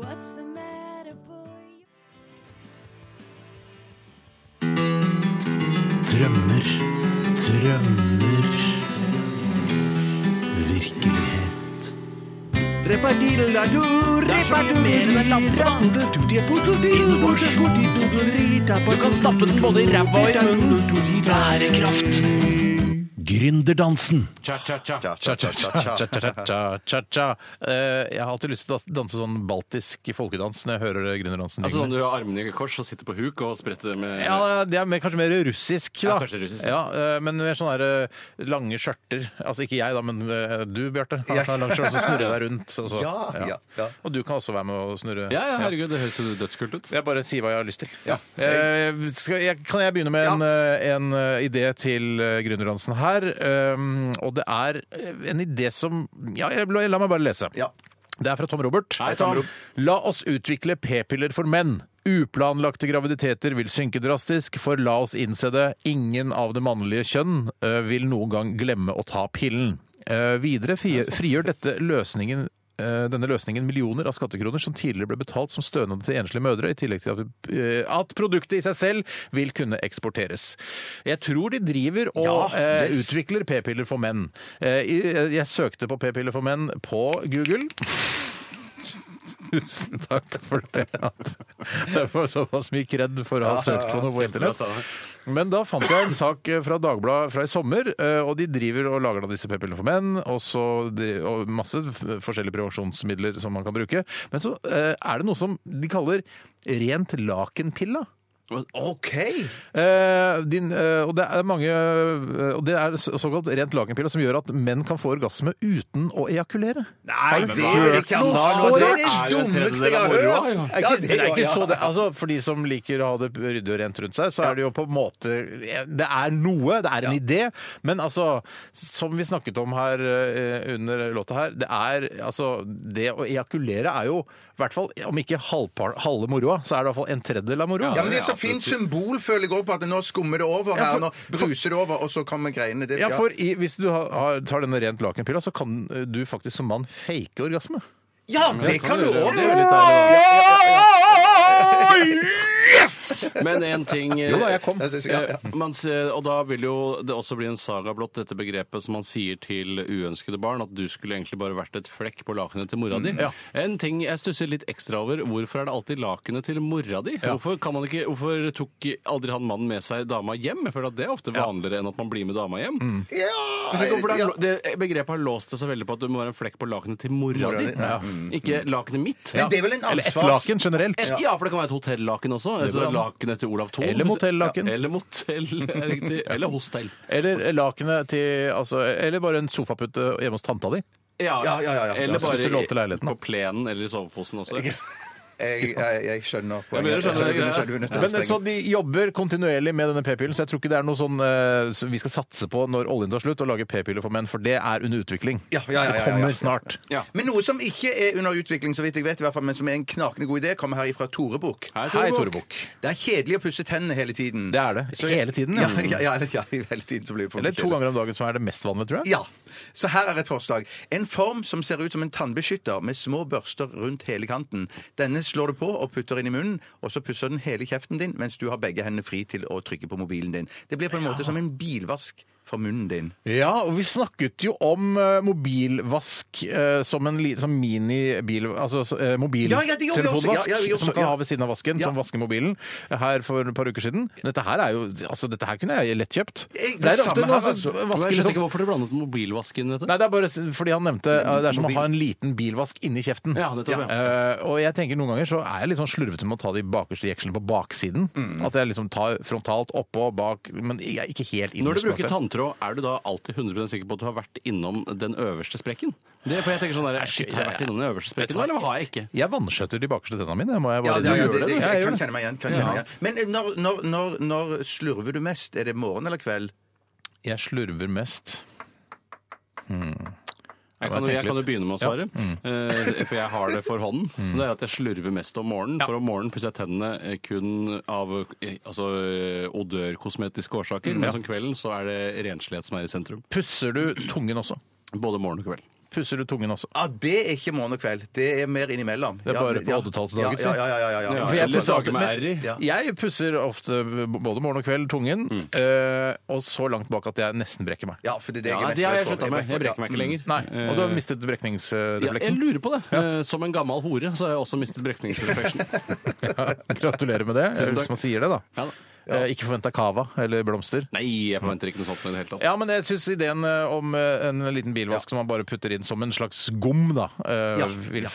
What's the matter, boy? Drømmer, drømmer Virkelighet Du kan stappe den både i ræva og i munnen. Bærekraft. Gründerdansen Cha-cha-cha-cha-cha-cha-cha. Eh, Jeg har alltid lyst til å danse sånn baltisk folkedans når jeg hører gründerdansen. Altså sånn du har armene i kors og sitter på huk og spretter med Ja, det er mer, kanskje mer russisk, da. Ja, kanskje russisk. Ja, eh, men mer sånne der, eh, lange skjørter. Altså ikke jeg, da, men eh, du, Bjarte. Ja. Ja. Lang skjørt, så snurrer jeg deg rundt. Så, så. Ja, ja, Og du kan også være med å snurre. Ja, ja, herregud, det høres jo dødskult ut. Jeg bare sier hva jeg har lyst til. Eh, skal jeg, kan jeg begynne med en, eh, en eh, idé til eh, gründerdansen her? Um, og det er eh, en idé som Ja, jeg, la meg bare lese. Det er fra Tom Robert. La oss utvikle p-piller for menn. Uplanlagte graviditeter vil synke drastisk, for la oss innse det, ingen av det mannlige kjønn eh, vil noen gang glemme å ta pillen. Eh, videre fri- frigjør dette løsningen eh, denne løsningen millioner av skattekroner som tidligere ble betalt som stønad til enslige mødre, i tillegg til at, eh, at produktet i seg selv vil kunne eksporteres. Jeg tror de driver og Ja, eh, yes. utvikler p-piller for menn. Eh, i- jeg søkte på p-piller for menn på Google. Tusen takk for det. at Jeg får såpass mye kred for å ha søkt på noe på internett. Men da fant jeg en sak eh, fra Dagbladet fra i sommer, eh, og de driver og lager da disse p-pillene for menn, og, så, dri- og masse f- forskjellige prevensjonsmidler som man kan bruke. Men så eh, er det noe som de kaller rent lakenpilla. OK! din, eh, og det er mange eh, Og det er så- såkalt rent lakenpilla som gjør at menn kan få orgasme uten å ejakulere. Nei, Har men du hva er det hørt ikke noe annet? så Det er rart? det Er jo en dummeste tredjedel av jeg har moroa, hørt. jo. Er Ja, ikke- det det er var- ikke ja. så det. Altså, for de som liker å ha det ryddig og rent rundt seg, så er det jo på en måte Det er noe, det er en idé, men altså Som vi snakket om her eh, under låta her, det er altså Det å ejakulere er jo i hvert fall, om ikke halvpar, halve moroa, så er det i hvert fall en tredjedel av moroa. Ja, men Det er så fint symbol, føler jeg òg, på at nå skummer det Ja, over her. for- Nå bruser det over, og så kommer greiene. Det, Ja, for i, hvis du har- har, tar denne rent lakenpilla, så kan eh, du faktisk som mann fake orgasme. Ja, det kan du òg! Det er jo litt deilig, da. Yes! Men én ting Jo da, jeg kom. Eh, man sier- og da vil jo det også bli en saga blott, dette begrepet som man sier til uønskede barn, at du skulle egentlig bare vært et flekk på lakenet til mora di. Mm, ja. En ting jeg stusser litt ekstra over, hvorfor er det alltid lakenet til mora di? Hvorfor, kan man ikke, hvorfor tok aldri han mannen med seg dama hjem? Jeg føler at det er ofte vanligere enn at man blir med dama hjem. Mm. Jeg skjønner ikke hvorfor det, er, det begrepet har låst det så veldig på at det må være en flekk på lakenet til mora Mora di. di, ja. Ikke lakenet mitt. Men det er vel en Eller et ansvars- laken generelt. Et- Ja, for det kan være et hotellaken også. Det går Altså, an. lakenet til Olav Thon. Eller motellaken. Ja, eller motell, *laughs* er riktig. Eller hostell. Eller lakenet til altså, Eller bare en sofapute hjemme hos tanta di. Ja, Ja, ja, ja, ja. Eller Jeg synes du lånte bare i, leiligheten, på plenen eller i soveposen også. Ikke Jeg, jeg, jeg skjønner Ja, men poenget. dere skjønner Jeg greia. skjønner understreker. Men eh, så De jobber kontinuerlig med denne p-pillen, så jeg tror ikke det er noe sånn eh, som vi skal satse på når oljen tar slutt, å lage p-piller for menn, for det er under utvikling. ja, ja, ja, ja. Det kommer snart. Men noe som ikke er under utvikling, så vidt jeg vet, i hvert fall, men som er en knakende god idé, kommer her ifra Tore Bukk. Hei, Tore Hei, Bukk. Tore Bukk. Det er kjedelig å pusse tennene hele tiden. Det er det. Hele tiden, ja. ja. Ja, ja, eller- ja, hele tiden så blir det *laughs* for Eller mye to kjedelig. ganger om dagen, som er det mest vanlige, tror jeg. Ja. Så her er et forslag. En form som ser ut som en tannbeskytter med små børster rundt hele kanten. Denne slår du på og putter inn i munnen, og så pusser den hele kjeften din mens du har begge hendene fri til å trykke på mobilen din. Det blir på en måte som en bilvask for munnen din. Ja, og vi snakket jo om eh, mobilvask eh, som en li- som mini-bil... Altså så, eh, Ja, ja, det gjorde vi også. mobiltelefonvask Ja, ja, vi gjorde som man også, kan ja. ha ved siden av vasken, som vasker mobilen, eh, her for et par uker siden. Dette her er jo Altså, dette her kunne jeg lett kjøpt. Eh, Det, ofte noe som altså. vasker Jeg skjønner liksom- ikke hvorfor du blandet mobilvasken i dette. Nei, det er bare s- fordi han nevnte eh, det er som å ha en liten bilvask inni kjeften. Ja, nettopp, ja. Eh, og jeg tenker noen ganger så er jeg litt sånn slurvete med å ta de bakerste jekslene på baksiden. Mm. At jeg liksom tar frontalt oppå og bak, men jeg er ikke helt innerst. Når du bruker på en måte. tanntråd, er du da alltid 100 sikker på at du har vært innom den øverste sprekken? Det, for jeg tenker sånn der, shit, Har jeg vært innom den øverste sprekken nå, eller har jeg ikke? Jeg vannskjøtter de bakerste tennene mine. Må jeg Ja, bare det, ja, Du det, gjør det, du. Ja, jeg gjør kan det. kjenne meg igjen. Kan kjenne meg igjen. Men eh, når, når, når, når slurver du mest? Er det morgen eller kveld? Jeg slurver mest. Hmm. Jeg må kan, tenke jeg kan jo litt. begynne med å Ja. svare, eh, for jeg har det for hånden. Det er at jeg slurver mest om morgenen. For om morgenen pusser jeg tennene eh, kun av eh, altså, eh, odørkosmetiske årsaker, Mm, ja. mens om kvelden så er det renslighet som er i sentrum. Pusser du tungen også? Både morgen og kveld. pusser du tungen også. Ja, det er ikke morgen og kveld. Det er mer innimellom. Det er Ja, bare på ja. oddetallsdager, Ja, ja, ja. ja, ja, ja. For jeg, pusser alltid, Ja. men jeg pusser ofte både morgen og kveld tungen, Mm. eh, og så langt bak at jeg nesten brekker meg. Ja, for det er det jeg Ja, er det har jeg redd for. sluttet med. Jeg brekker meg ikke lenger. Nei, Og du har Eh, mistet Ja, jeg brekningsrefleksen. lurer på det. Eh, Som en gammel hore så har jeg også mistet brekningsrefleksen. *laughs* Gratulerer med det, Tusen takk. hvis man sier det, da. Ja da. Eh, Ikke forventa cava eller blomster. Nei, jeg forventer ikke noe sånt i det hele tatt. Ja, men jeg syns ideen eh, om eh, en liten bilvask som man bare putter inn som en slags gom, da eh, Ja, vil,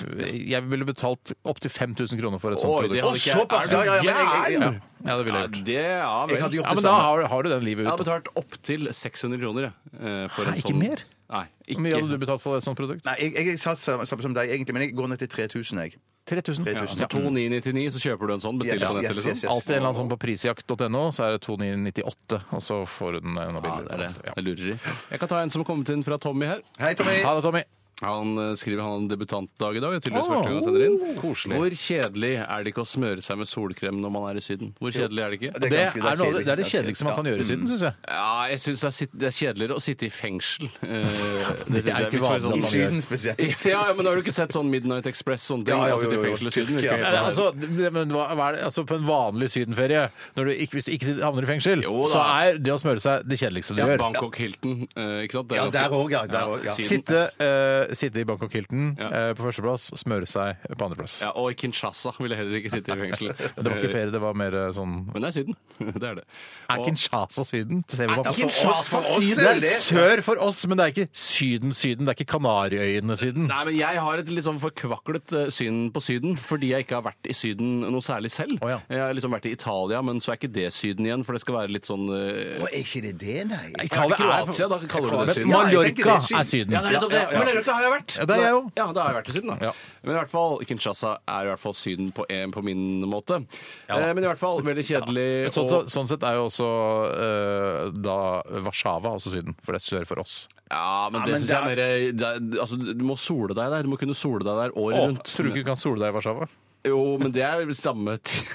Jeg ville betalt opptil 5000 kroner for et sånt Oi, produkt. det hadde ikke jeg- såpass, Er du ja, ja, men jeg- jeg- gæren? ja. Ja, det ville Ja, jeg gjort. det, ja, vel. Jeg hadde gjort Ja, det men da samme. har, har du den livet Jeg har ut. betalt opptil 600 kroner. jeg, eh, For Hæ, en ikke sånn... mer? Nei, Hvor mye hadde ikke. du betalt for et sånt produkt? Nei, jeg, jeg, jeg satt samme samme som deg, egentlig, men jeg går ned til 3000, jeg. 3000. Ja, 3000. så 2999, så kjøper du en sånn, bestiller Yes, på nettet, yes, liksom. yes, yes. Alltid en eller annen sånn på prisjakt.no, så er det 2998, og så får du den eh, Ja, enda det er billigere. det. Det er lureri. Jeg kan ta en som er kommet inn fra Tommy her. Hei, Tommy! Ja. Ha det, Tommy. Han eh, skriver han har en debutantdag i dag. Tydeligvis Åh, første gang han sender inn. Hvor kjedelig er det ikke å smøre seg med solkrem når man er i Syden? Hvor kjedelig er det ikke? Det Det er er, ganske- det er noe, av det- det er det kjedelig. kjedeligste man Ja. kan gjøre i Syden, syns jeg. Ja, jeg syns det, er sitt- det er kjedeligere å sitte i fengsel. Eh, *laughs* det synes er jeg. ikke Hvis for vanlig at I man sånn- Syden spesielt. *laughs* Ja, ja, men har du ikke sett sånn Midnight Express? Sånne ting? Ja, ja, Å sitte i jo, jo, jo. fengsel i Syden virker Tyrkia. helt Ja, altså, det, men hva, hva er det? altså, på en vanlig sydenferie, når du ikke, hvis du ikke sitter- havner i fengsel, Jo da. så er det å smøre seg det kjedeligste du ja, gjør. Bangkok Hilton, eh, ikke sant? Det er Ja, ganske- der òg, ja. Der også, ja. Syden. Sitte, eh, sitte i Bangkok Hilton Ja. eh, på førsteplass, smøre seg på andreplass. Ja, og i Kinshasa vil jeg heller ikke sitte i fengsel. *laughs* Det var ikke ferie, det var mer eh, sånn Men det er Syden. *laughs* Det er det. Er Og- Kinshasa Syden? Ser vi hva- for oss- for oss Syden? er det Det er det. sør for oss, men det er ikke Syden-Syden. Det er ikke Kanariøyene-Syden. Nei, men Jeg har et litt sånn forkvaklet eh, syn på Syden, fordi jeg ikke har vært i Syden noe særlig selv. Å, ja. Jeg har liksom vært i Italia, men så er ikke det Syden igjen, for det skal være litt sånn eh, Å, er ikke det det, nei? Italia er Kroatia, da kaller du det Men Syden. Ja, jeg tenker det Mallorca er Syden. er Syden. Ja, det er nettopp det. Ja, ja, ja. Men Mallorca har jeg vært. Ja, det er jeg jo. Ja, da har jeg vært i Syden, da. Ja. Men i hvert fall, Kinshasa er i hvert fall Syden på, en, på min måte. Eh, Men i hvert fall, veldig kjedelig. Sånn, og- så, sånn sett er jo også eh, da Warszawa altså Syden, for det er sør for oss. Ja, men det men synes jeg er mer det er- altså, Du må sole deg der. Du må kunne sole deg der året Å, rundt. tror du ikke du kan sole deg i Warszawa? Jo, men det er vel samme *laughs* ti-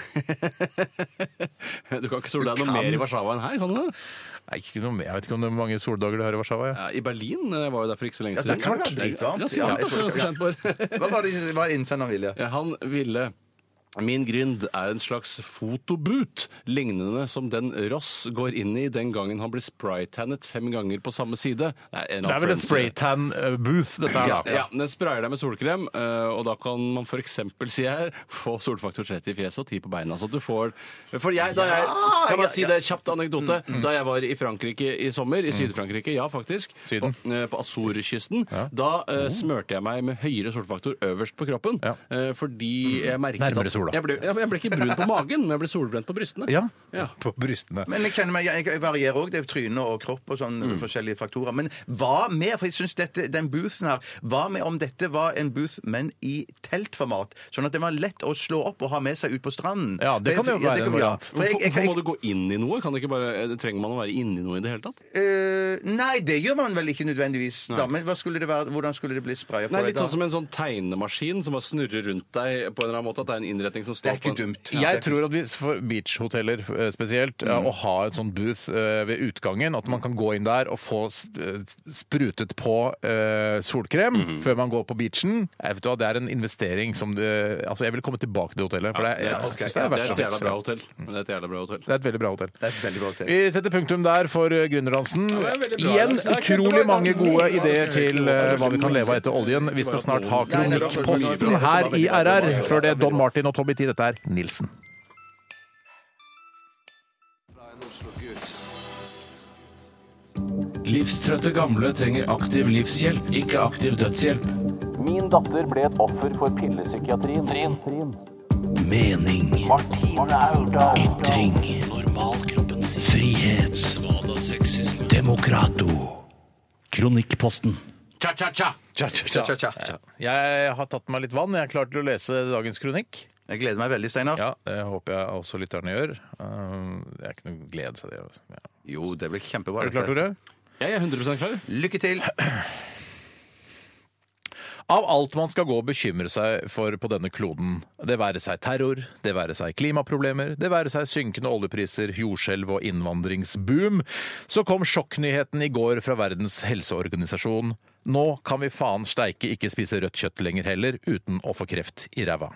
Du kan ikke sole deg noe kan. mer i Warszawa enn her, kan du det? Nei, ikke noe mer. Jeg vet ikke om det er mange soldager du har i Warszawa. Ja. Ja, I Berlin eh, var jo der for ikke så lenge Ja, der kan det være dritvarmt. Ganske Ja, varmt, jeg altså, tror- ja. Sandborg. Hva var det hva var det innsenderen ville? *laughs* Ja, Han ville Min grind er en slags fotobut, lignende som den Ross går inn i den gangen han blir spraytannet fem ganger på samme side. Nei, en Det av er vel en Friends- spraytan-booth, dette her, da. Ja, Den sprayer deg med solkrem, eh, og da kan man f.eks. si her få solfaktor 30 i fjeset og 10 på beina. Så at du får For jeg, da jeg Kan bare si det kjapt anekdote. Da jeg var i Frankrike i sommer, i Syd-Frankrike, ja faktisk, Syden. på, eh, på Azorekysten, da eh, smørte jeg meg med høyere solfaktor øverst på kroppen. Ja. eh, fordi jeg merket Nærmere at- sola. Jeg ble, ja, men jeg ble ikke brun på magen, men jeg ble solbrent på brystene. Ja. Ja. På brystene. Men jeg kjenner meg, jeg, jeg varierer òg. Det er tryne og kropp og sånn Mm. forskjellige faktorer. Men hva med For jeg syns den boothen her Hva med om dette var en booth, men i teltformat? Sånn at den var lett å slå opp og ha med seg ut på stranden. Ja, det kan jo For jeg- være en ja. variant. For jeg- jeg- Hvorfor må du gå inn i noe? Kan det ikke bare, eh, trenger man å være inni noe i det hele tatt? Eh, nei, det gjør man vel ikke nødvendigvis. Da. Men hva skulle det være, hvordan skulle det bli spraya på Nei, deg Litt da? sånn som en sånn tegnemaskin som bare snurrer rundt deg. på en eller annen måte, At det er en innretning som det står er ikke på en... dumt. Ja, Jeg det- tror at hvis for beachhoteller eh, spesielt, Mm. ja, å ha en sånn booth eh, ved utgangen, at man kan gå inn der og få s- eh, sprutet på eh, solkrem Mm. før man går på beachen, jeg vet hva, det er en investering som det, Altså, jeg vil komme tilbake til hotellet, for det, er- jeg, Ja, synes det er Mm. Det er verdt et jævla det. bra hotell. Det er et jævla bra hotell. Det er et veldig bra hotell. Det er et veldig bra til. Vi setter punktum der for eh, gründerdansen. veldig bra, Igjen Lars. Det er utrolig kjempebra. mange gode Ja, det er ideer til eh, hva vi kan leve av etter oljen. Vi skal snart ha Nei, nei, det var så mye Kronikkposten bra. her i RR. Før det Don Martin og Tommy T. Dette er Nilsen. Livstrøtte gamle trenger aktiv livshjelp, ikke aktiv dødshjelp. Min datter ble et offer for pillepsykiatrien. Trin. Mening. Martine Aurdal. Ytring. Normalkroppen sin. Frihet. Svada sexisme. Demokrato. Kronikkposten. Cha-cha-cha! Tja, tja, tja. Jeg har tatt meg litt vann. Jeg er klar til å lese dagens kronikk. Jeg gleder meg veldig, Steinar. Ja, Det håper jeg også lytterne gjør. Um, Det er ikke noe glede seg det. altså. Ja. Jo, det blir kjempebra. Er du klar, Tore? Jeg er 100 klar. Lykke til. Av alt man skal gå og bekymre seg for på denne kloden, det være seg terror, det være seg klimaproblemer, det være seg synkende oljepriser, jordskjelv og innvandringsboom, så kom sjokknyheten i går fra Verdens helseorganisasjon. Nå kan vi faen steike ikke spise rødt kjøtt lenger heller, uten å få kreft i ræva.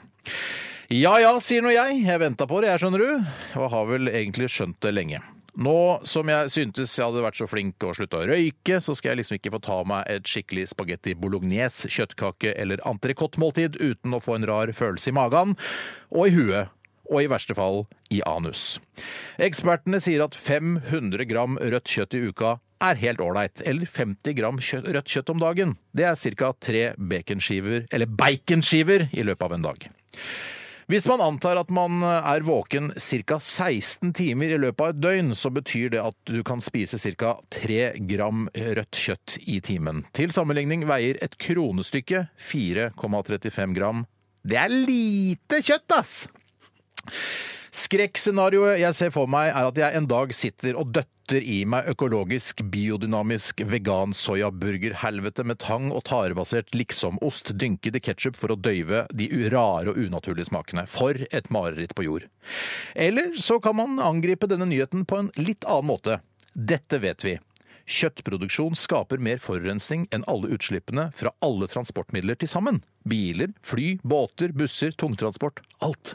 Ja ja, sier nå jeg. Jeg venta på det, jeg, skjønner du. Og har vel egentlig skjønt det lenge. Nå som jeg syntes jeg hadde vært så flink og slutta å røyke, så skal jeg liksom ikke få ta meg et skikkelig spagetti bolognese, kjøttkake eller entrecôte-måltid uten å få en rar følelse i magen og i huet og i verste fall i anus. Ekspertene sier at 500 gram rødt kjøtt i uka er helt ålreit, eller 50 gram kjøtt, rødt kjøtt om dagen. Det er ca. tre baconskiver, eller baconskiver, i løpet av en dag. Hvis man antar at man eh, er våken ca. 16 timer i løpet av et døgn, så betyr det at du kan spise ca. 3 gram rødt kjøtt i timen. Til sammenligning veier et kronestykke 4,35 gram. Det er lite kjøtt, ass! Skrekkscenarioet jeg ser for meg, er at jeg en dag sitter og døtter i meg økologisk, biodynamisk, vegan soyaburgerhelvete med tang og tarebasert liksom liksomost dynket i ketsjup for å døyve de rare og unaturlige smakene. For et mareritt på jord. Eller så kan man angripe denne nyheten på en litt annen måte. Dette vet vi. Kjøttproduksjon skaper mer forurensning enn alle utslippene fra alle transportmidler til sammen. Biler, fly, båter, busser, tungtransport. Alt.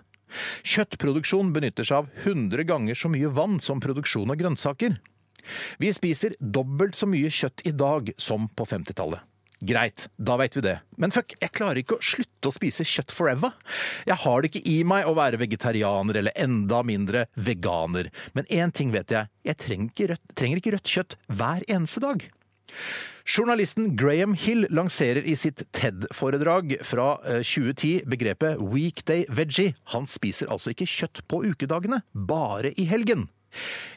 Kjøttproduksjon benytter seg av 100 ganger så mye vann som produksjon av grønnsaker. Vi spiser dobbelt så mye kjøtt i dag som på 50-tallet. Greit, da veit vi det. Men fuck, jeg klarer ikke å slutte å spise kjøtt forever. Jeg har det ikke i meg å være vegetarianer, eller enda mindre veganer. Men én ting vet jeg, jeg trenger ikke rødt, trenger ikke rødt kjøtt hver eneste dag. Journalisten Graham Hill lanserer i sitt TED-foredrag fra eh, 2010 begrepet weekday veggie. Han spiser altså ikke kjøtt på ukedagene, bare i helgen.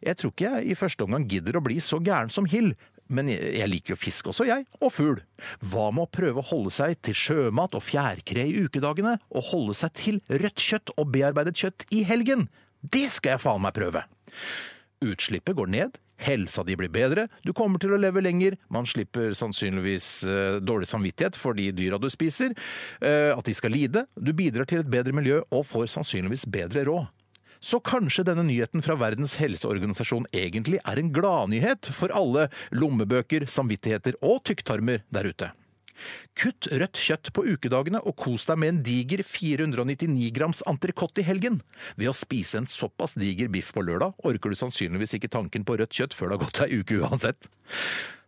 Jeg tror ikke jeg i første omgang gidder å bli så gæren som Hill, men jeg jeg liker jo fisk også, jeg, og fugl. Hva med å prøve å holde seg til sjømat og fjærkre i ukedagene, og holde seg til rødt kjøtt og bearbeidet kjøtt i helgen? Det skal jeg faen meg prøve! Utslippet går ned, helsa di blir bedre, du kommer til å leve lenger, man slipper sannsynligvis eh, dårlig samvittighet for de dyra du spiser, eh, at de skal lide, du bidrar til et bedre miljø og får sannsynligvis bedre råd. Så kanskje denne nyheten fra Verdens helseorganisasjon egentlig er en gladnyhet for alle lommebøker, samvittigheter og tykktarmer der ute. Kutt rødt kjøtt på ukedagene og kos deg med en diger 499 grams entrecôte i helgen. Ved å spise en såpass diger biff på lørdag orker du sannsynligvis ikke tanken på rødt kjøtt før det har gått ei uke uansett.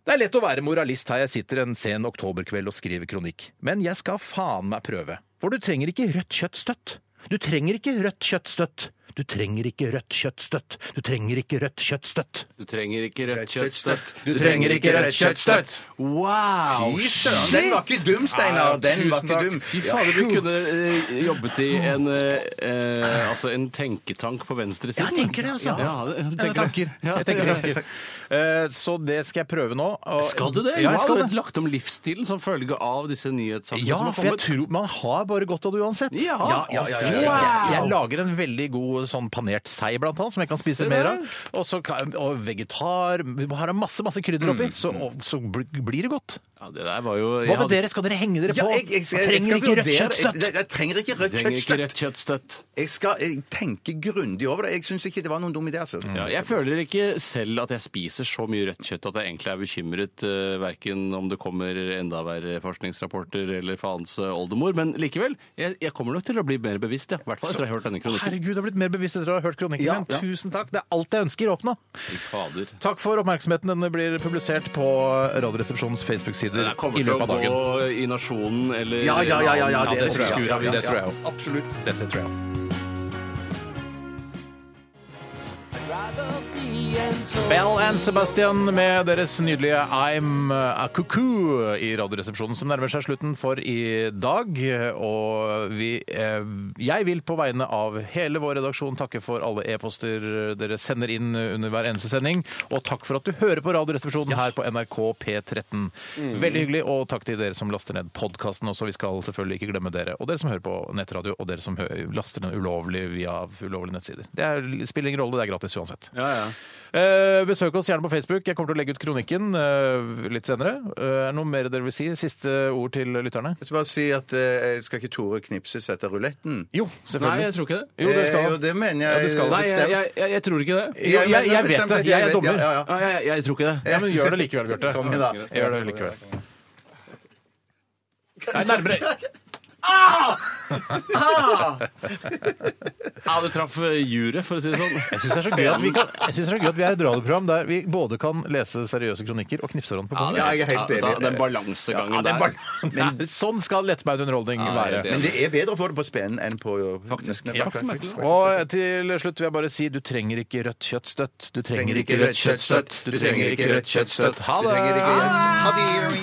Det er lett å være moralist her jeg sitter en sen oktoberkveld og skriver kronikk, men jeg skal faen meg prøve. For du trenger ikke rødt kjøtt støtt. Du trenger ikke rødt kjøtt støtt. Du trenger ikke rødt kjøtt støtt. Du trenger ikke rødt kjøtt støtt. Du trenger ikke rødt kjøttstøtt. Du trenger ikke rødt kjøttstøtt. Wow! Fy søren, den var ikke dum, Ah, Steinar. Den var ikke dum. Fy fader, du kunne eh, jobbet i en, eh, eh, altså en tenketank på venstresiden. Jeg tenker det, altså. Ja, det- jeg tenker det. Ja, Jeg tenker ja, tanker. ja. Eh, Så det skal jeg prøve nå. og- Skal du det? Ja, jeg skal Wow, det. Lagt om livsstilen som følge av disse nyhetssakene Ja, som har for jeg kommet. tror man har bare godt av det uansett. Ja. ja, ja, ja, Jeg, ja. jeg, jeg lager en veldig god sånn panert sei, blant annet, som jeg kan spise Se mer der. av. Og, så, kan- og vegetar. Vi har masse, masse krydder oppi, så, og, så bl- blir det godt. Mm. Ja, det der var jo... Hva med dere? Skal dere henge dere på? Ja, jeg, jeg, jeg, jeg, trenger skal ikke rødt vurdere- kjøttstøtt. Jeg, jeg trenger ikke rødt Trenger ikke kjøttstøtt. rødt kjøttstøtt. Jeg skal jeg, tenke grundig over det. Jeg syns ikke det var noen dum idé. Altså. Ja, jeg føler ikke selv at jeg spiser så mye rødt kjøtt at jeg egentlig er bekymret, uh, verken om det kommer enda verre forskningsrapporter eller faens eh, oldemor, men likevel, jeg, jeg kommer nok til å bli mer bevisst, ja. I hvert fall etter å ha hørt denne kronikken. Herregud, jeg har blitt mer bevisst etter å ha hørt kronikken Ja, din. ja. Tusen takk. Det er alt jeg ønsker å oppnå. Fy fader. Takk for oppmerksomheten. Den blir publisert på Radioresepsjonens Facebook-sider Det kommer i til å løpet gå av dagen. i nasjonen eller Ja, ja, ja, ja, ja, det tror jeg. Ja, ja, Det tror jeg ja, også. Absolutt. Dette tror jeg. Bell and Sebastian med deres nydelige I'm a Cuckoo i Radioresepsjonen, som nærmer seg slutten for i dag. Og vi eh, Jeg vil på vegne av hele vår redaksjon takke for alle e-poster dere sender inn under hver eneste sending. Og takk for at du hører på Radioresepsjonen her på NRK P13. Veldig hyggelig. Og takk til dere som laster ned podkasten også. Vi skal selvfølgelig ikke glemme dere. Og dere som hører på nettradio, og dere som hø- laster den ulovlig via ulovlige nettsider. Det er, spiller ingen rolle, det er gratis uansett. Ja, ja. Eh, besøk oss gjerne på Facebook. Jeg kommer til å legge ut kronikken eh, litt senere. Eh, Er det noe mer dere vil si? Siste ord til lytterne? Jeg skal bare si at eh, skal ikke Tore knipses etter ruletten? Jo, Nei, selvfølgelig. jeg tror ikke det. jo, det Eh, skal jo, det mener jeg. Ja, det skal. Nei, jeg, bestemt. jeg, jeg, jeg tror ikke det. jeg- jeg- jeg men vet bestemt det. at Jeg er vet- dommer. Ja, ja, ja. *laughs* Ja, jeg, jeg tror ikke det. Ja, men gjør det likevel, Bjarte. Kom igjen, da. Gjør det likevel. Nei, nærmere. Ah! Ah! Ja, du traff eh, juret, for å si det sånn. Jeg syns det, er så gøy at vi kan- jeg synes det er så gøy at vi er et radioprogram der vi både kan lese seriøse kronikker og knipse hverandre på gangen. Ja, jeg er helt enig. eh, Den balansegangen Ja, der. den bal- *laughs* Nei, sånn skal lettbeint underholdning være. Men det er bedre å få det på spenen enn på Faktisk. Ja, Og eh, til slutt vil jeg bare si du trenger ikke rødt kjøttstøtt. Du trenger ikke rødt kjøttstøtt. Du trenger ikke rødt kjøttstøtt. Ha det! Ha det!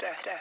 P3.